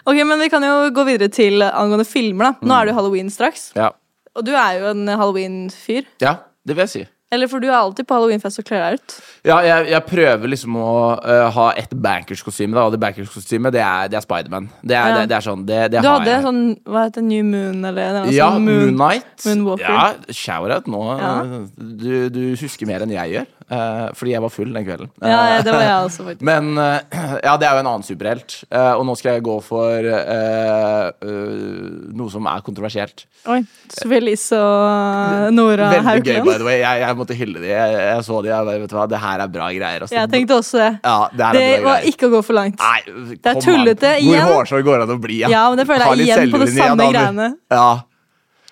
S1: Ok, men vi kan jo gå videre til angående filmer, da. Nå er det jo halloween straks.
S2: Ja.
S1: Og du er jo en halloween-fyr.
S2: ja, det vil jeg si.
S1: Eller for du er alltid på halloweenfest og kler deg ut.
S2: Ja, jeg, jeg prøver liksom å eh, ha et bankers-kostyme, da. Og det bankers-kostymet, det er, det er Spiderman. Det, er-
S1: Ja.
S2: det, det er sånn, det, det
S1: Du
S2: har
S1: hadde
S2: jeg.
S1: en sånn, hva heter det, New Moon, eller noe
S2: ja,
S1: sånn
S2: Moon Knight.
S1: Moonwalker.
S2: Ja, shout-out nå.
S1: Ja.
S2: Du, du husker mer enn jeg gjør, eh, fordi jeg var full den kvelden.
S1: Ja, ja, det var jeg også, faktisk.
S2: <laughs> Men eh, ja, det er jo en annen superhelt. Eh, og nå skal jeg gå for eh, eh, noe som er kontroversielt.
S1: Oi, Sofelis og eh, Nora
S2: Veldig gøy, by
S1: Haukeland.
S2: the way. Jeg, jeg måtte hylle de. Jeg, jeg så de. Jeg, bare, vet du hva, det her er bra greier. ass.
S1: Jeg tenkte også det.
S2: ja, det, her
S1: Det
S2: er bra
S1: var
S2: greier.
S1: ikke å gå for langt.
S2: Nei,
S1: Det er
S2: kom an.
S1: tullete igjen.
S2: Hvor hårsår går det an å bli?
S1: Ja, men det føler jeg
S2: Ha litt
S1: igjen på det
S2: selvtillit, ja,
S1: samme
S2: da, du-
S1: greiene.
S2: Ja.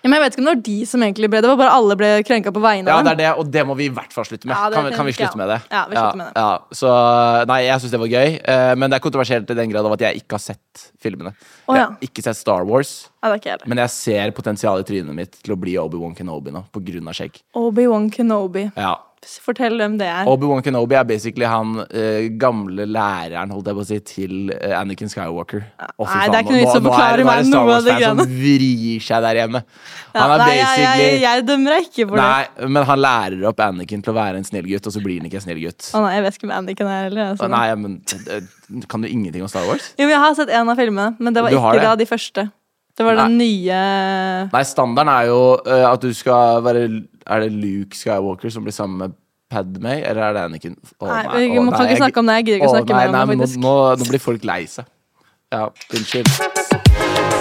S1: Ja, men jeg vet ikke om det var de som egentlig ble det. var Bare alle ble krenka på vegne
S2: ja,
S1: av
S2: det
S1: dem.
S2: er det, og det må vi i hvert fall slutte med.
S1: Ja, det
S2: kan, vi- kan vi
S1: tenker jeg.
S2: slutte med det?
S1: Ja, vi slutter med det.
S2: Ja, så, nei, jeg syns det var gøy, eh, men det er kontroversielt i den grad av at jeg ikke har sett filmene.
S1: Å,
S2: Jeg
S1: ja.
S2: har ikke sett Star Wars.
S1: Nei, det er ikke jeg heller.
S2: Men jeg ser potensialet i trynet mitt til å bli Obi-Wan Kenobi nå, på grunn av skjegg.
S1: Obi-Wan Kenobi.
S2: Ja.
S1: Fortell hvem det er.
S2: Obi-Wan Kenobi er basically han eh, gamle læreren, holdt jeg på å si, til eh, Anakin Skywalker. Å, fy
S1: Nei,
S2: faen,
S1: det er ikke noe vits å
S2: nå- nå
S1: forklare
S2: det bare
S1: meg
S2: Star
S1: noe av
S2: Wars
S1: det
S2: fans som vrir seg der hjemme. Han er
S1: Nei, jeg,
S2: basically
S1: jeg, jeg dømmer deg ikke for det.
S2: Nei, men han lærer opp Anakin til å være en snill gutt, og så blir han ikke en snill gutt.
S1: Å nei, jeg vet ikke hvem Anniken er heller. Altså.
S2: Nei, men eh, Kan du ingenting om Star Wars?
S1: Jo, men jeg har sett en av filmene, men det var
S2: Du
S1: ikke
S2: har det?
S1: da de første. Det var den nye
S2: Nei, standarden er jo eh, at du skal være Er det Luke Skywalker som blir sammen med Padmay, eller er det Anakin? Å,
S1: Nei,
S2: nei,
S1: vi
S2: å,
S1: må- kan ikke
S2: jeg-
S1: snakke om det, jeg gidder ikke
S2: å,
S1: snakke
S2: nei,
S1: mer om det,
S2: nei,
S1: faktisk.
S2: men Nå, nå, nå blir folk lei seg. Ja, unnskyld.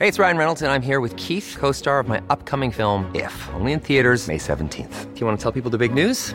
S3: Hey, it's Ryan Reynolds, and I'm here with Keith, co star of my upcoming film, If, only in theaters, May 17th. Do you want to tell people the big news?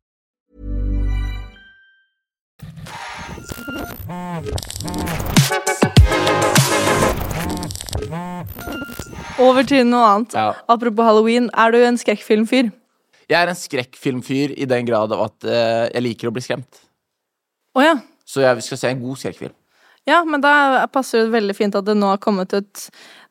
S1: Over til noe annet.
S2: Ja.
S1: Apropos halloween, er du en skrekkfilmfyr?
S2: Jeg er en skrekkfilmfyr i den grad av at eh, jeg liker å bli skremt.
S1: Å ja.
S2: Så jeg skal se en god skrekkfilm.
S1: Ja, men da passer det veldig fint at det nå har kommet ut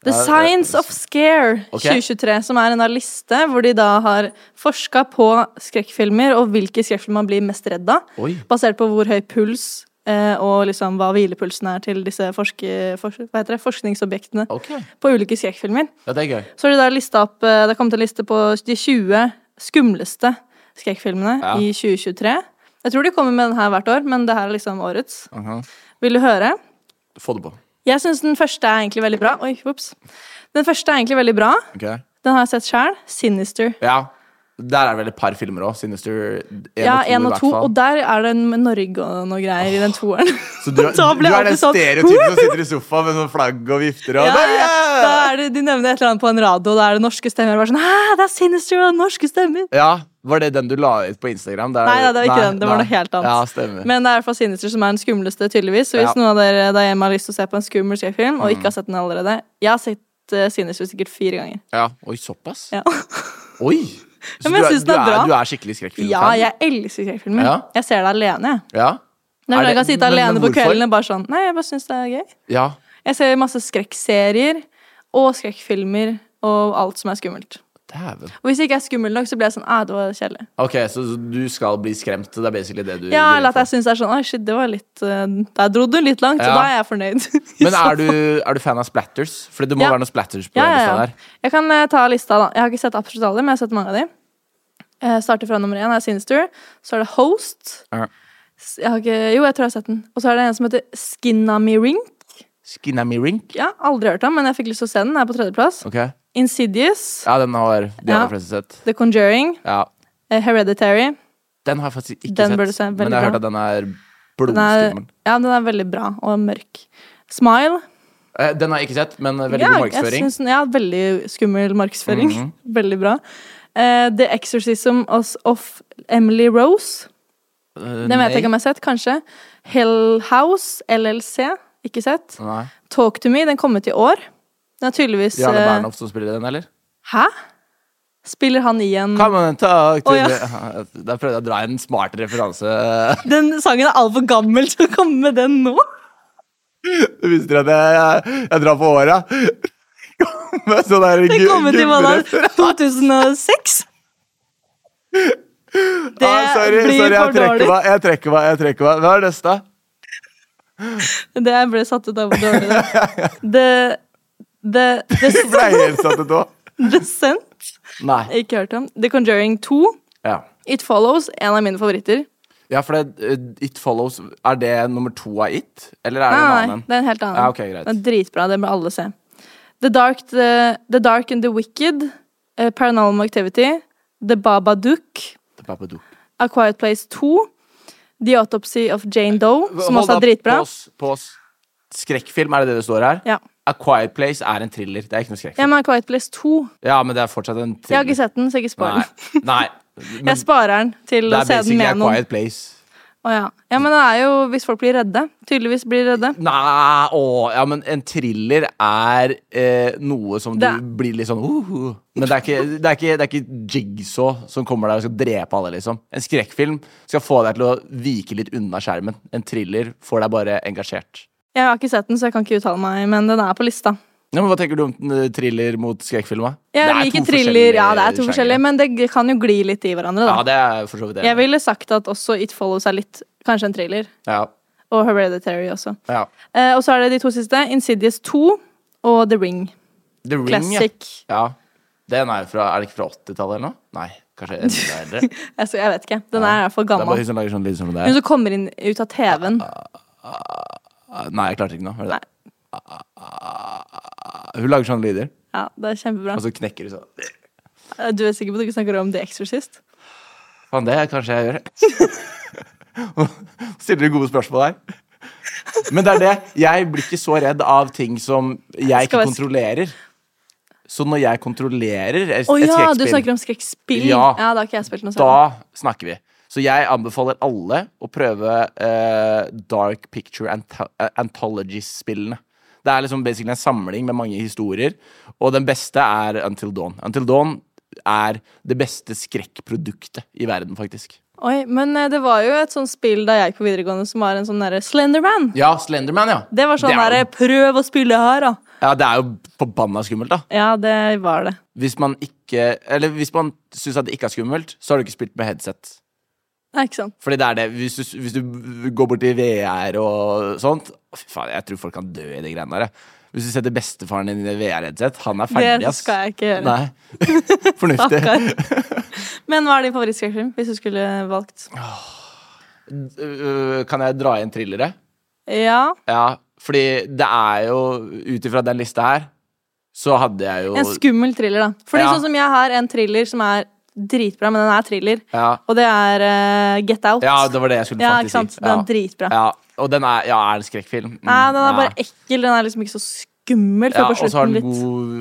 S1: The
S2: Ja, det-
S1: Science of Scare
S2: Ok.
S1: 2023, som er en av liste hvor de da har forska på skrekkfilmer og hvilke skrekkfilmer man blir mest redd av,
S2: Oi.
S1: basert på hvor høy puls eh, og liksom hva hvilepulsen er til disse forske, fors- hva heter det, forskningsobjektene
S2: Ok.
S1: på ulike skrekkfilmer.
S2: Ja, det er gøy.
S1: Så har de da lista opp eh, Det har kommet en liste på de 20 skumleste skrekkfilmene
S2: Ja.
S1: i 2023. Jeg tror de kommer med den her hvert år, men det her er liksom årets. Vil du høre?
S2: Få det på.
S1: Jeg syns den første er egentlig veldig bra. Oi, whoops. Den første er egentlig veldig bra.
S2: Ok?
S1: Den har jeg sett sjøl. Sinister.
S2: Ja. Der er det vel et par filmer òg. Sinister 1
S1: Ja,
S2: og
S1: én
S2: 2 i
S1: og
S2: hvert
S1: to.
S2: fall.
S1: Og der er det en med Norge og noe greier i den toeren.
S2: Så
S1: <laughs>
S2: du,
S1: Da
S2: du
S1: ble
S2: er
S1: alle
S2: den
S1: sånn,
S2: stereotypen som sitter i sofaen med sånn flagg og vifter og
S1: Ja,
S2: Norge!
S1: ja. Da er det, De nevner et eller annet på en radio, og da er det norske stemmer. Og bare sånn, Hæ, det er Sinister og norske stemmer
S2: Ja, Var det den du la ut på Instagram? Der-
S1: Nei, nei, det var ikke den. Det var
S2: nei.
S1: noe helt annet.
S2: Ja, stemmer.
S1: Men det er i hvert fall Sinister som er den skumleste, tydeligvis. Så hvis
S2: Ja. Mm.
S1: noen av dere der hjemme har lyst til å se på en skummel skrekkfilm, og ikke har sett den allerede Jeg har sett eh, Sinister sikkert fire ganger.
S2: ja. Oi, såpass?
S1: Ja,
S2: Oi! Så
S1: men jeg
S2: du,
S1: synes den er
S2: du,
S1: bra.
S2: er, du er skikkelig skrekkfilm?
S1: ja jeg elsker skrekkfilmer.
S2: Ja.
S1: Jeg ser det alene, jeg.
S2: ja.
S1: Det er
S2: Er
S1: fordi jeg kan
S2: det-
S1: sitte
S2: men- men
S1: alene på
S2: hvorfor?
S1: kvelden og bare sånn Nei, jeg bare syns det er gøy.
S2: ja.
S1: Jeg ser masse skrekkserier og skrekkfilmer og alt som er skummelt.
S2: Dæven.
S1: Og hvis jeg ikke er skummel nok, så blir jeg sånn Æ, det var kjedelig.
S2: Ok, så så du skal bli skremt? Det er basically det du
S1: Ja,
S2: går inn
S1: eller at
S2: for.
S1: jeg syns det er sånn Oi, shit, det var litt eh, Der dro du litt langt,
S2: Ja.
S1: og da er jeg fornøyd.
S2: Men er du, er du fan av splatters? For det må
S1: Ja.
S2: være noen splatters
S1: <laughs>
S2: på
S1: ja,
S2: den
S1: ja,
S2: lista
S1: ja.
S2: der.
S1: Jeg kan eh, ta lista, da. Jeg har ikke sett absolutt alle, men jeg har sett mange av de. Jeg starter fra nummer én, er Sinister. Så er det Host.
S2: Ja.
S1: S- Jeg har ikke, jo, jeg tror jeg har sett den. Og så er det en som heter Skinnami Ring.
S2: Skinami Rink?
S1: Ja, aldri hørt om, men jeg fikk lyst til å se den. Den er på tredjeplass.
S2: Ok. Ja,
S1: Insidious.
S2: den har de
S1: Ja.
S2: aller fleste sett.
S1: The Conjuring.
S2: Ja.
S1: eh, Hereditary.
S2: Den har jeg faktisk ikke
S1: Den bør du
S2: sett,
S1: se, veldig
S2: men jeg
S1: bra.
S2: har hørt at den er
S1: Den er,
S2: blodskummel.
S1: ja, den er veldig bra og mørk. Smile.
S2: Eh, Den har jeg ikke sett, men veldig
S1: ja,
S2: god
S1: jeg
S2: markedsføring. Mhm.
S1: syns den- ja, veldig skummel markedsføring. <laughs> Veldig bra. Eh, The Exorcism of- of Emily Rose.
S2: Eh,
S1: Den vet jeg ikke om jeg har sett, kanskje. Hell House, LLC. Ikke sett.
S2: Nei.
S1: Talk to me, den kom ut i år. Den er tydeligvis
S2: Jarle
S1: eh,
S2: Bernhoft som spiller den, eller?
S1: Hæ? Spiller han i en
S2: Come on, talk to
S1: Å, ja.
S2: me. Der prøvde jeg å dra en smart referanse. <laughs>
S1: Den sangen er altfor gammel til å komme med den nå.
S2: Du visste at jeg, jeg drar på <laughs> åra. Med sånn
S1: Den
S2: der gu-
S1: kom ut i hva da?
S2: gubbereferanse.
S1: 2006? Det
S2: Ah, sorry,
S1: blir
S2: sorry, jeg
S1: for dårlig.
S2: trekker meg. Jeg trekker meg, jeg trekker meg. Hva er neste?
S1: <laughs> Det jeg ble satt ut av hvor dårlig det var. The, the,
S2: Du ble
S1: the,
S2: helt satt ut òg.
S1: the Scent.
S2: Nei.
S1: Ikke hørt om. The Conjuring 2.
S2: Ja.
S1: It Follows. En av mine favoritter.
S2: ja, for det, eh, It Follows Er det nummer to av It? Eller er det
S1: Nei,
S2: en
S1: nei,
S2: annen?
S1: nei, det er en helt annen.
S2: Ja, ok, greit.
S1: Den er dritbra. Det bør alle se. The Dark, the, the Dark and the Wicked. eh, Paranormal Activity. The Babadook.
S2: Det er Babadook.
S1: A Quiet Place 2. The Autopsy of Jane Doe, som
S2: Eh, Hold
S1: også
S2: opp,
S1: er dritbra.
S2: Pause, pause. Skrekkfilm, er det det det står her?
S1: Ja.
S2: A Quiet Place er en thriller. Det er ikke noe
S1: Ja,
S2: skrekkfilm.
S1: men A Quiet Place 2.
S2: Ja, men det er fortsatt en thriller.
S1: Jeg har ikke sett den, så ikke spar den. <laughs>
S2: Nei. Nei. Men
S1: Jeg sparer den til
S2: det
S1: å
S2: er
S1: se den
S2: basically A
S1: med noen.
S2: Quiet Place.
S1: Å ja. ja, men det er jo hvis folk blir redde. Tydeligvis blir redde.
S2: Nei, å, ja, men en thriller er eh, noe som du
S1: Det-
S2: blir litt sånn uh, uh. Men det er, ikke, det, er ikke, det er ikke Jigsaw som kommer der og skal drepe alle, liksom. En skrekkfilm skal få deg til å vike litt unna skjermen. En thriller får deg bare engasjert.
S1: Jeg har ikke sett den, så jeg kan ikke uttale meg, men den er på lista.
S2: Ja, men Hva tenker du om eh, thriller mot skrekkfilm? da?
S1: Jeg
S2: Det er
S1: liker
S2: to
S1: thriller, ja, det er to
S2: sjangere.
S1: forskjellige, men det kan jo gli litt i hverandre, da.
S2: Ja, det er for så vidt det.
S1: Jeg ville sagt at også It Follows er litt kanskje en thriller.
S2: Ja,
S1: Og Hereditary også.
S2: ja.
S1: Eh, og så er det de to siste, Insidious 2 og The Ring.
S2: The Ring,
S1: Classic.
S2: ja. ja. Den er, fra, er det ikke fra 80-tallet eller noe? Nei, kanskje enda
S1: <laughs>
S2: eldre.
S1: Altså, jeg vet ikke. Den er i hvert fall
S2: Det er bare
S1: gammel.
S2: hun som lager sånn lyd som det
S1: Hun
S2: er.
S1: som kommer inn ut av TV-en.
S2: Nei, jeg klarte ikke nå. Hør det. Hun lager sånne lyder,
S1: Ja, det er kjempebra. Eh,
S2: og så knekker hun sånn.
S1: Du er sikker på at du ikke snakker om The Exorcist?
S2: Faen, det kanskje jeg gjør. <laughs> Stiller du gode spørsmål her? Men det er det. Jeg blir ikke så redd av ting som jeg
S1: Skal
S2: ikke
S1: være sk-
S2: kontrollerer. Så når jeg kontrollerer et,
S1: Å
S2: et
S1: ja, du
S2: skrekkspill-
S1: snakker om skrekkspill?
S2: Ja.
S1: da har ikke jeg spilt noe sånt.
S2: Da snakker vi. Så jeg anbefaler alle å prøve eh, Dark Picture Anto eh, Anthology-spillene. Det er liksom basically en samling med mange historier, og den beste er Until Dawn. Until Dawn er det beste skrekkproduktet i verden, faktisk.
S1: Oi, men eh, det var jo et sånt spill da jeg gikk på videregående som var en sånn derre Slenderman.
S2: Ja, Slenderman, ja.
S1: Det var sånn
S2: er
S1: derre
S2: jo-
S1: Prøv å spille her, da.
S2: Ja, det er jo forbanna skummelt, da.
S1: Ja, det var det.
S2: Hvis man ikke Eller hvis man syns at det ikke er skummelt, så har du ikke spilt med headset.
S1: Nei, ikke sant.
S2: Fordi det er det, hvis du, hvis du går bort til VR og sånt å, Fy faen, jeg tror folk kan dø i de greiene der. jeg. Hvis du setter bestefaren din i VR-headset, han er ferdig,
S1: Det skal jeg ikke gjøre.
S2: Nei. <laughs> Fornuftig.
S1: Men hva er din favorittskrekkfilm, hvis du skulle valgt?
S2: Øh, Kan jeg dra igjen thrillere?
S1: Ja,
S2: Ja, fordi det er jo Ut ifra den lista her, så hadde jeg jo
S1: en skummel thriller, da. Fordi
S2: Ja.
S1: sånn som jeg har en thriller som er dritbra, men den er thriller.
S2: Ja.
S1: Og det er eh, Get Out.
S2: Ja, det var det jeg skulle
S1: Ja,
S2: faktisk
S1: ikke sant?
S2: si.
S1: Den er dritbra.
S2: Ja, og den er, ja, er en skrekkfilm. Mm,
S1: Nei, den er bare
S2: ja.
S1: ekkel. Den er liksom ikke så skummel
S2: Ja,
S1: før på
S2: og så har
S1: slutten.
S2: den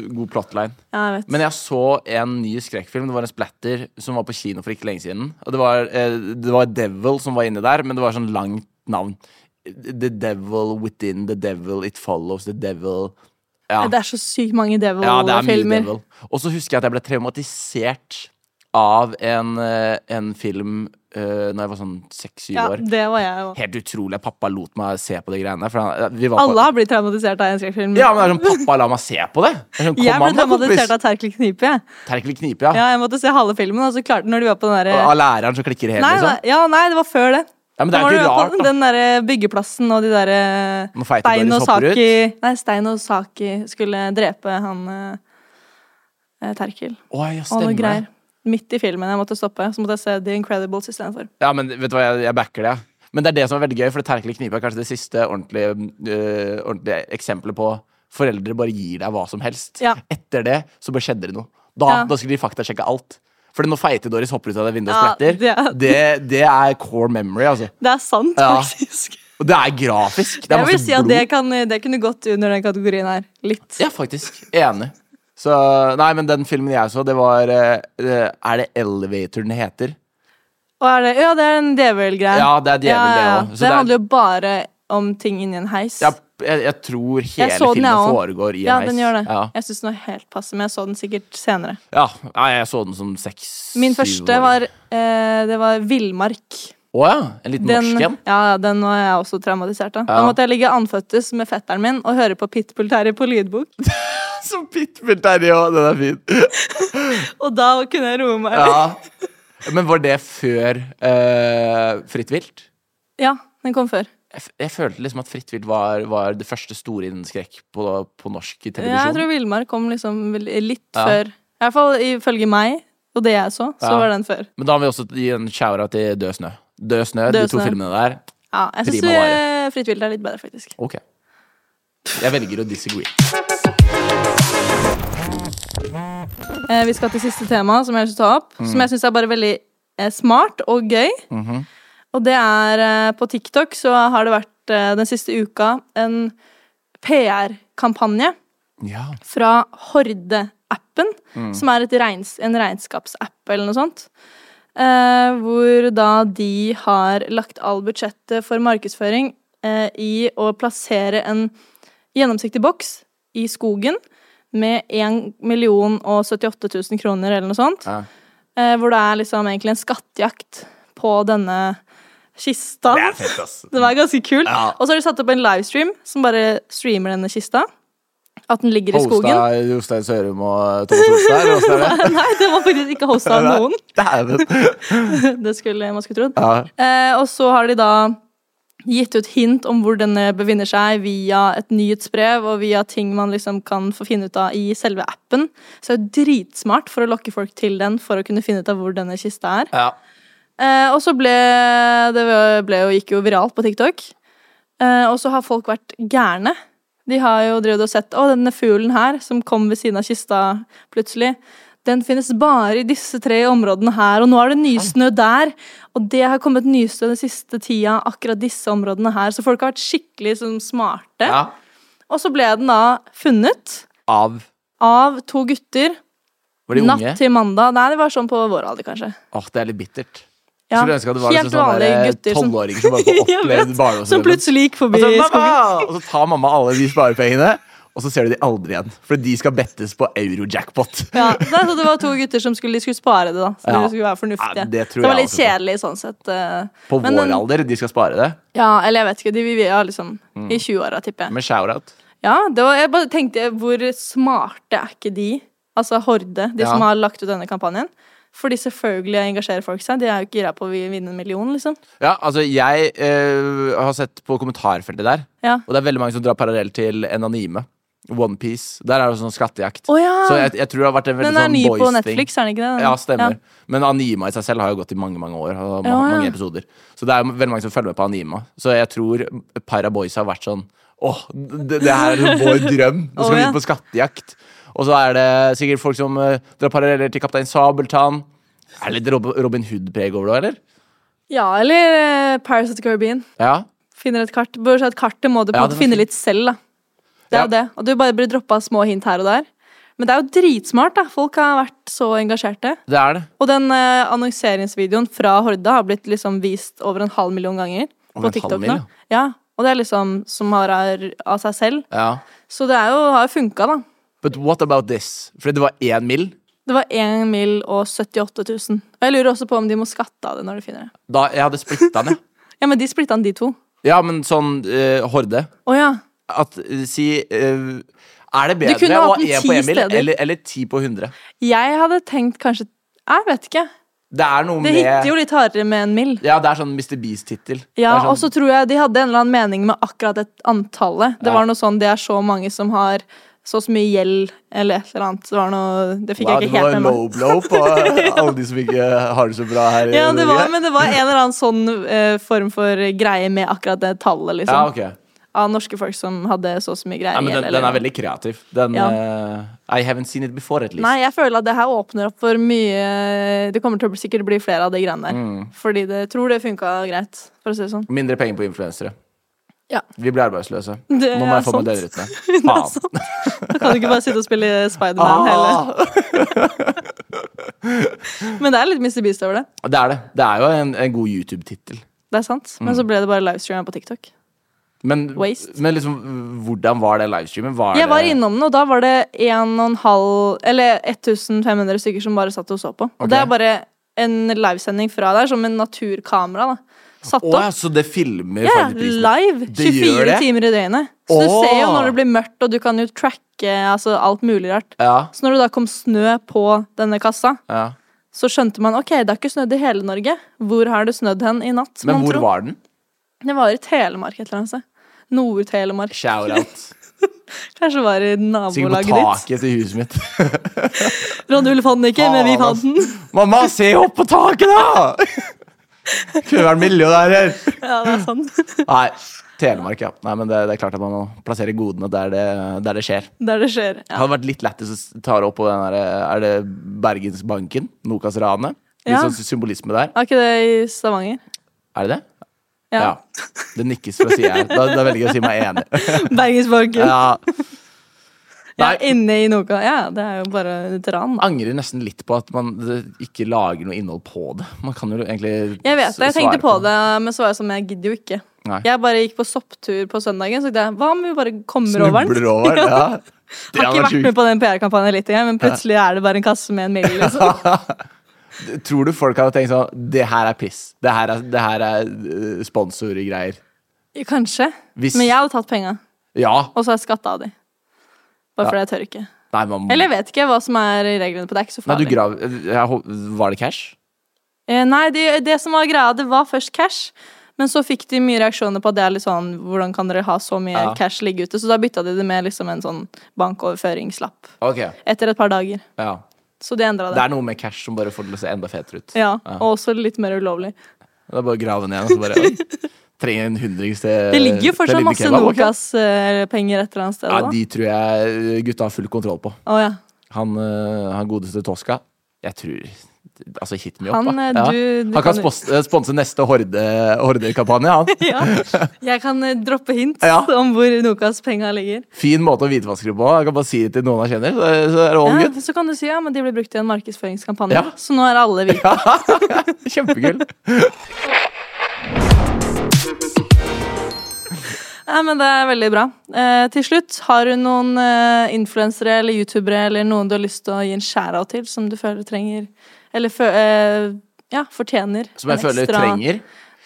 S1: litt.
S2: god, god plotline.
S1: Ja, jeg vet.
S2: Men jeg så en ny skrekkfilm. Det var en splatter som var på kino for ikke lenge siden. Og det var, eh, det var Devil som var inne der, men det var sånn langt navn. The Devil Within, The Devil It Follows, The Devil Ja,
S1: Det er så sykt mange
S2: ja det er mye
S1: Devil-filmer.
S2: Devil. Og så husker jeg at jeg ble traumatisert av en, eh, en film uh, Når jeg var sånn seks-syv
S1: Ja,
S2: år.
S1: det var jeg òg.
S2: Helt utrolig at pappa lot meg se på de greiene. For han, eh, vi var
S1: Alle
S2: på,
S1: har blitt traumatisert av en skrekkfilm.
S2: ja, men det er sånn, Pappa, la meg se på det! Det er Sånn,
S1: <laughs> jeg ble traumatisert
S2: av
S1: av Terkel Knipe. jeg.
S2: Terkel Knipe, ja.
S1: Ja, jeg måtte se halve filmen, og så klarte når de var på den
S2: Av
S1: derre
S2: læreren som klikker helt,
S1: Eh, nei,
S2: liksom.
S1: nei, ja, nei, det var før det.
S2: Ja, men det
S1: Da
S2: er
S1: var
S2: ikke
S1: du på
S2: rart, da.
S1: Den derre byggeplassen og de derre
S2: Når Feite
S1: Stein
S2: Doris
S1: og
S2: hopper ut.
S1: Saki Nei, Stein og Saki skulle drepe han eh, Terkel.
S2: Å, ja,
S1: Og noe
S2: stemmer.
S1: greier. Midt i filmen. Jeg måtte stoppe. Så måtte jeg se The Incredibles istedenfor.
S2: Ja, men vet du hva, jeg, jeg backer det. jeg. Men det er det som er veldig gøy, for det Terkelig knipe er kanskje det siste ordentlige, øh, ordentlige eksempelet på foreldre bare gir deg hva som helst.
S1: Ja.
S2: Etter det så bare skjedde det noe. Da,
S1: Ja.
S2: da skulle de faktasjekke alt. Fordi når Feite-Doris hopper ut av det vinduet og
S1: Ja,
S2: spretter,
S1: det-
S2: det, det er core memory, altså.
S1: Det er sant,
S2: Ja.
S1: faktisk.
S2: Og det er grafisk. Det er
S1: Jeg vil
S2: masse
S1: si at
S2: blod.
S1: det, kan, det kunne gått under den kategorien her. Litt.
S2: Ja, faktisk. Enig. Så, nei, men den filmen jeg så, det var eh, eh, Er det Elevator den heter?
S1: Og er det, ja, det er en djevelgreie.
S2: Ja, det er djevel, det også. Så
S1: Det,
S2: det er-
S1: handler jo bare om ting inni en heis.
S2: Jeg, jeg, jeg tror hele
S1: Jeg så den,
S2: filmen
S1: jeg også.
S2: foregår i en
S1: ja,
S2: heis.
S1: den gjør det.
S2: Ja.
S1: Jeg syns den var helt passe, men jeg så den sikkert senere.
S2: Ja, nei, jeg så den som seks
S1: Min
S2: syv
S1: første
S2: år.
S1: var eh, Det var Villmark.
S2: Å ja, en liten
S1: Den,
S2: norsk en?
S1: ja, ja, den var jeg også traumatisert av. Da måtte jeg ligge anføttes med fetteren min og høre på Pitbull-Terje på lydbok.
S2: Som Pitbull Terje òg, den er fin.
S1: Og da kunne jeg roe meg.
S2: <laughs> Ja. Men var det før eh, Fritt vilt?
S1: Ja, den kom før.
S2: Jeg, f- jeg følte liksom at Fritt vilt var, var det første store innen skrekk på, på norsk
S1: Ja, jeg
S2: televisjon.
S1: tror Villmark kom liksom vel- litt før. I hvert fall ifølge meg og det jeg så, så
S2: Ja.
S1: var den før.
S2: Men da må vi også gi en shower til Død snø. Død snø, de
S1: Død
S2: to
S1: snø.
S2: filmene der.
S1: Ja, jeg syns
S2: Prima vare.
S1: eh, Fritt vilt er litt bedre, faktisk.
S2: Ok. Jeg velger å disagree.
S1: Eh, vi skal til siste tema, som jeg vil ta opp.
S2: Mm.
S1: Som jeg syns er bare veldig eh, smart og gøy.
S2: Mhm.
S1: Og det er eh, På TikTok så har det vært eh, den siste uka en PR-kampanje
S2: Ja.
S1: fra Horde-appen,
S2: Mm.
S1: som er et regns, en regnskapsapp eller noe sånt. Eh, hvor da de har lagt all budsjettet for markedsføring eh, i å plassere en gjennomsiktig boks i skogen med 1 million og 78 000 kroner eller noe sånt.
S2: Ja.
S1: Eh, hvor det er liksom egentlig en skattejakt på denne kista.
S2: Det er fett, ass.
S1: Det var ganske kult.
S2: Ja.
S1: Og så har de satt opp en livestream som bare streamer denne kista. At den ligger i skogen. <laughs>
S2: Hosta Jostein Sørum og Thomas Olstad, eller hvordan er det?
S1: Nei, den var faktisk ikke hosta av noen.
S2: Dæven.
S1: Det skulle man skulle trodd.
S2: Ja.
S1: Eh, og så har de da gitt ut hint om hvor den eh, befinner seg via et nyhetsbrev og via ting man liksom kan få finne ut av i selve appen. Så det er jo dritsmart for å lokke folk til den for å kunne finne ut av hvor denne kista er.
S2: ja.
S1: Eh, og så ble det ble jo, gikk jo viralt på TikTok. Eh, og så har folk vært gærne. De har jo drevet og sett Å, denne fuglen her som kom ved siden av kista plutselig. Den finnes bare i disse tre områdene her, og nå er det nysnø der. Og det har kommet nysnø den siste tida, akkurat disse områdene her. Så folk har vært skikkelig sånn, smarte.
S2: ja.
S1: Og så ble den da funnet
S2: Av
S1: av to gutter
S2: Var de
S1: natt
S2: unge?
S1: til mandag. Nei, det var sånn på vår alder, kanskje.
S2: Åh, det er litt bittert.
S1: Ja,
S2: Skulle ønske at det var
S1: helt
S2: liksom sånne
S1: vanlige
S2: der
S1: gutter som-
S2: tolvåringer som bare får
S1: <laughs> Jeg
S2: oppleve
S1: vet,
S2: barndomsdrømmen.
S1: Som plutselig gikk forbi
S2: Og så,
S1: skogen.
S2: «Mamma!» og så tar mamma alle de sparepengene, og så ser du de aldri igjen. For de skal bettes på euro-jackpot.
S1: Ja, det, er så det var to gutter som skulle, de skulle spare det, da. Så
S2: Ja.
S1: de skulle være fornuftige.
S2: Ja, det tror
S1: Så det var
S2: jeg
S1: litt
S2: også på.
S1: kjedelig sånn sett. eh.
S2: På
S1: Men
S2: vår
S1: den-
S2: alder, de skal spare det.
S1: Ja, eller jeg vet ikke. De vi var liksom
S2: Mm.
S1: i 20-åra, tipper jeg.
S2: Med shout-out.
S1: Ja, det var, jeg bare tenkte hvor smarte er ikke de? Altså Horde, de
S2: Ja.
S1: som har lagt ut denne kampanjen. Fordi selvfølgelig engasjerer folk seg. De er jo ikke gira på å vinne en million, liksom.
S2: Ja, altså, jeg eh, har sett på kommentarfeltet der,
S1: Ja.
S2: og det er veldig mange som drar parallell til en anime. Onepiece. Der er det sånn skattejakt.
S1: Å ja.
S2: Så jeg, jeg tror det har vært en veldig
S1: Den er
S2: sånn
S1: ny
S2: boys-ting.
S1: på Netflix, er den ikke det? Den-
S2: Ja, stemmer. Men anima i seg selv har jo gått i mange mange år. Og ma-
S1: Ja, ja.
S2: mange episoder Så det er jo veldig mange som følger med på anima. Så jeg tror Para Boys har vært sånn Åh, det, det her er
S1: <laughs>
S2: vår drøm! Nå skal
S1: Å,
S2: vi
S1: ja.
S2: på skattejakt. Og så er det sikkert folk som eh, drar paralleller til Kaptein Sabeltann. Er det litt Rob- Robin Hood-preg over det, eller?
S1: Ja, eller eh, Paris of the Caribbean.
S2: Ja.
S1: Finner et kart. Bør si at kartet må du på en
S2: Ja, det
S1: måte
S2: var
S1: finne
S2: fint.
S1: litt selv, da. Det er
S2: Ja.
S1: jo det. Og du bare blir droppa små hint her og der. Men det er jo dritsmart, da. Folk har vært så engasjerte.
S2: Det er det.
S1: Og den eh, annonseringsvideoen fra Horda har blitt liksom vist over en halv million ganger på
S2: Over en halv
S1: TikTok nå.
S2: million?
S1: Ja, og det er liksom som har er av seg selv.
S2: Ja.
S1: Så det er jo, har jo funka, da.
S2: But what about this? Fordi det var én mill.
S1: Det var 1 mill. og 78 000. Og jeg lurer også på om de må skatte av det når de finner det.
S2: Da jeg hadde splitta den, ja.
S1: Ja, men de splitta den, de to.
S2: <laughs> Ja, men sånn eh, horde.
S1: Å ja.
S2: At eh, si eh, Er det
S1: Du kunne
S2: bedre å
S1: hatt den
S2: ha én
S1: ti
S2: på én mill
S1: steder.
S2: eller, eller ti på hundre?
S1: Jeg hadde tenkt kanskje Jeg vet ikke.
S2: Det er noe
S1: Det
S2: med
S1: hitter jo litt hardere med en mill.
S2: Ja, det er sånn Mr. Beast-tittel. Det
S1: Ja,
S2: er sånn,
S1: og så tror jeg de hadde en eller annen mening med akkurat det antallet. Det var noe sånn det er så mange som har så og så mye gjeld eller et eller annet. Det var noe Det fikk
S2: wow,
S1: jeg
S2: det
S1: ikke
S2: var
S1: helt
S2: en
S1: med
S2: low
S1: meg.
S2: blow på
S1: <laughs>
S2: alle de som ikke har det så bra her. i
S1: Ja, det var,
S2: Norge.
S1: men det var en eller annen sånn eh, form for greie med akkurat det tallet, liksom.
S2: Ja, ok.
S1: Av norske folk som hadde så og så mye greier.
S2: Nei, men den,
S1: gjeld,
S2: den
S1: eller-
S2: er veldig kreativ. Den
S1: Ja.
S2: eh, I haven't seen it before, at least.
S1: Nei, jeg føler at det her åpner opp for mye Det kommer til å bli- sikkert bli flere av de greiene der.
S2: Mm.
S1: Fordi det tror det funka greit, for å si det sånn.
S2: Mindre penger på influensere.
S1: Ja.
S2: Vi blir arbeidsløse.
S1: Det
S2: Nå må
S1: er
S2: jeg få meg
S1: sant.
S2: døgnrytme.
S1: <laughs> Det er
S2: Faen.
S1: sant. Da kan du ikke bare sitte og spille
S2: Ah.
S1: Spiderman heller. Men det er litt Mr. Beast over det.
S2: Ah. Det er det. Det er jo en, en god YouTube-tittel.
S1: Det er sant. Men
S2: Mm.
S1: så ble det bare livestreama på TikTok.
S2: Men,
S1: Waste.
S2: men liksom, hvordan var den livestreamen? Var
S1: Jeg var
S2: det-
S1: innom den, og da var det 1,5 Eller 1500 stykker som bare satt og så på. Og det er bare en livesending fra der, som en naturkamera. da Satt
S2: Å
S1: opp.
S2: ja, så det filmer
S1: Ja,
S2: faktisk prisen.
S1: live.
S2: Det gjør
S1: 24
S2: det?
S1: timer i døgnet. Så du
S2: Åh.
S1: ser jo når det blir mørkt, og du kan jo tracke altså, alt mulig rart.
S2: Ja,
S1: Så når det da kom snø på denne kassa,
S2: ja.
S1: så skjønte man ok, det har ikke snødd i hele Norge. Hvor har det snødd hen i natt?
S2: Men hvor var den?
S1: Det var i Telemark et eller annet sted. Nord-Telemark.
S2: Shout-out.
S1: <laughs> Kanskje det var i
S2: Sikkert
S1: nabolaget
S2: på
S1: ditt.
S2: taket til huset mitt. <laughs>
S1: Ranulf fant den ikke, men vi fant den. <laughs>
S2: Mamma, se opp på taket, da! <laughs> Kunne vært millionærer.
S1: Ja, det er sant.
S2: Nei, Telemark, ja. Nei, men det, det er klart at man må plassere godene der det, der det skjer.
S1: Der det skjer.
S2: Det
S1: Ja.
S2: hadde vært litt lættis å s- ta det opp på den der, er det Bergensbanken? Nokas-ranet? Litt
S1: Ja.
S2: sånn symbolisme der.
S1: Var ikke det i Stavanger?
S2: Er det det?
S1: Ja. <laughs>
S2: Det nikkes fra sida her. Da, da velger jeg å si meg enig.
S1: Bergensbanken. Ja, <laughs>
S2: Ja, nei.
S1: inne i Noka. Ja, det er jo bare et ran. da.
S2: angrer nesten litt på at man det- ikke lager noe innhold på det. Man kan jo egentlig
S1: Jeg vet
S2: s-
S1: det, jeg
S2: svare
S1: tenkte på det, men så var jeg sånn, jeg gidder jo ikke.
S2: Nei.
S1: Jeg bare gikk på sopptur på søndagen, så tenkte jeg, hva om vi bare kommer over den?
S2: Snubler over, ja.
S1: <laughs>
S2: Det
S1: Har
S2: hadde
S1: ikke
S2: vært
S1: vært med
S2: sjukt.
S1: på den PR-kampanjen litt engang, men plutselig er det bare en kasse med en
S2: <laughs>
S1: mail. Liksom.
S2: Tror du folk hadde tenkt sånn Det her er piss. Det her er, det her er øh, sponsorgreier.
S1: Kanskje.
S2: Hvis-
S1: Men jeg hadde tatt penga,
S2: Ja.
S1: og så har jeg skatta av de. Bare fordi jeg tør ikke.
S2: Nei, man
S1: Eller jeg vet ikke hva som er reglene på det. Det er ikke så
S2: Nei, du
S1: farlig.
S2: grav... jeg hå- Var det cash?
S1: Eh, Nei, det, det som var greia, det var først cash. Men så fikk de mye reaksjoner på at det er litt sånn Hvordan kan dere ha så mye
S2: Ja.
S1: cash ligge ute? Så da bytta de det med liksom en sånn bankoverføringslapp.
S2: Ok,
S1: Etter et par dager.
S2: ja
S1: Så de endra
S2: Det
S1: det.
S2: er noe med cash som bare får det Eh, til å se enda fetere ut.
S1: Ja, Og også litt mer ulovlig.
S2: Det er bare å grave ned og så bare
S1: <laughs>
S2: oi, Trenger en hundrings til
S1: Det ligger jo
S2: til
S1: fortsatt
S2: liten
S1: masse
S2: kebab, ok?
S1: Nokas-penger et eller annet sted.
S2: Ja,
S1: da.
S2: de tror jeg eh, gutta har full kontroll på.
S1: Å,
S2: <laughs>
S1: ja.
S2: Han, eh, han godeste Tosca. Jeg tror Altså, hit me up,
S1: Han, eh,
S2: da.
S1: du- du
S2: han kan
S1: kan-
S2: spos- eh, sponse neste Horde- Horde-kampanje, han.
S1: Ja, jeg kan eh, droppe hint
S2: Ja.
S1: om hvor Nokas penga ligger.
S2: Fin måte å hvitvaske det på. Jeg kan bare si det til noen han kjenner, så, så er det all
S1: Ja,
S2: good.
S1: Eh, så kan du si ja, men de ble brukt i en markedsføringskampanje,
S2: Ja.
S1: så nå er alle hvite.
S2: Kjempekul.
S1: Nei, men det er veldig bra. Eh, til slutt, har du noen eh, influensere eller youtubere eller noen du har lyst til å gi en shout-out til, som du føler trenger Eller fø eh, ja, fortjener
S2: Som jeg
S1: en
S2: føler
S1: ekstra-
S2: trenger.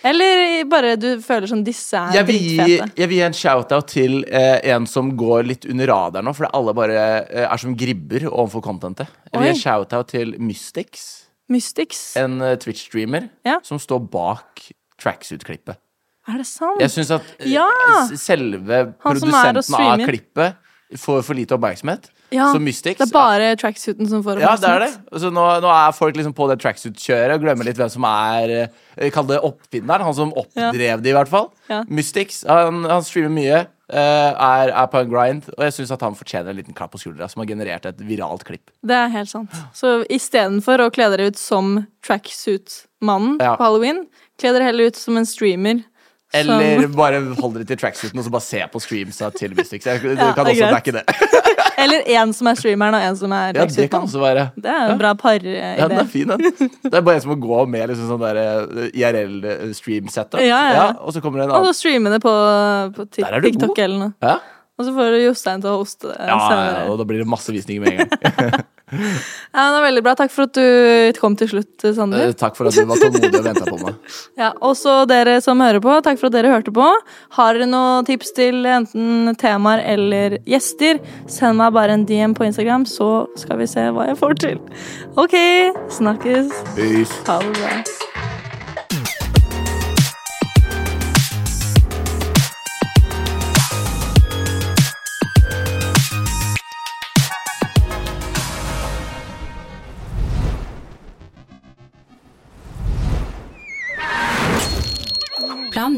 S1: Eller bare du føler som disse er
S2: jeg vil, gi,
S1: dritfete.
S2: jeg vil gi en shout-out til eh, en som går litt under radaren nå, fordi alle bare eh, er som gribber overfor contentet. Jeg vil gi
S1: Oi.
S2: en shout-out til Mystix,
S1: Mystics.
S2: en eh, Twitch-streamer
S1: Ja.
S2: som står bak tracksuit-klippet.
S1: Er det sant?
S2: Jeg syns at eh,
S1: Ja!
S2: s- selve
S1: Han som er og
S2: produsenten av
S1: streamer.
S2: klippet får for lite oppmerksomhet.
S1: ja,
S2: så Mystix
S1: Det er bare tracksuiten som får
S2: ja, det er det. Så nå, nå er folk liksom på det tracksuit-kjøret og glemmer litt hvem som er eh, Kall det oppfinneren. Han som oppdrev det, i hvert fall.
S1: Ja.
S2: Mystix. Han, han streamer mye. eh, er, er på en grind, og jeg syns at han fortjener en liten klapp på skuldra, som har generert et viralt klipp.
S1: Det er helt sant. Så istedenfor å kle dere ut som tracksuit-mannen
S2: Ja.
S1: på halloween, kle dere heller ut som en streamer. som-
S2: Eller bare hold dere til tracksuiten og så bare se på screamsa til Mystics. Jeg, du kan
S1: det er
S2: også
S1: greit.
S2: backe det.
S1: eller en som er streameren, og en som er
S2: Ja, det kan også
S1: tracksuit-mannen.
S2: være.
S1: Det er en bra eh, par-idé.
S2: Ja, den er fin, den. Det er bare en som må gå med liksom sånn der eh, IRL-stream-setup.
S1: Ja, ja, ja.
S2: og så kommer det en
S1: og så
S2: annen.
S1: streame det på, på Tik-
S2: Der er du god.
S1: TikTok eller noe.
S2: Ja?
S1: Og så får du Jostein til å hoste det
S2: Ja, ja,
S1: senere.
S2: og da blir det masse visninger med en
S1: <laughs>
S2: gang.
S1: Ja, det er veldig bra. Takk for at du kom til slutt, Sander.
S2: Eh, Takk for at du var tålmodig og venta på meg.
S1: Ja, også dere som hører på, takk for at dere hørte på. Har dere noen tips til enten temaer eller gjester, send meg bare en DM på Instagram, så skal vi se hva jeg får til. Ok, snakkes.
S2: Peace.
S1: Ha det bra.
S4: Plan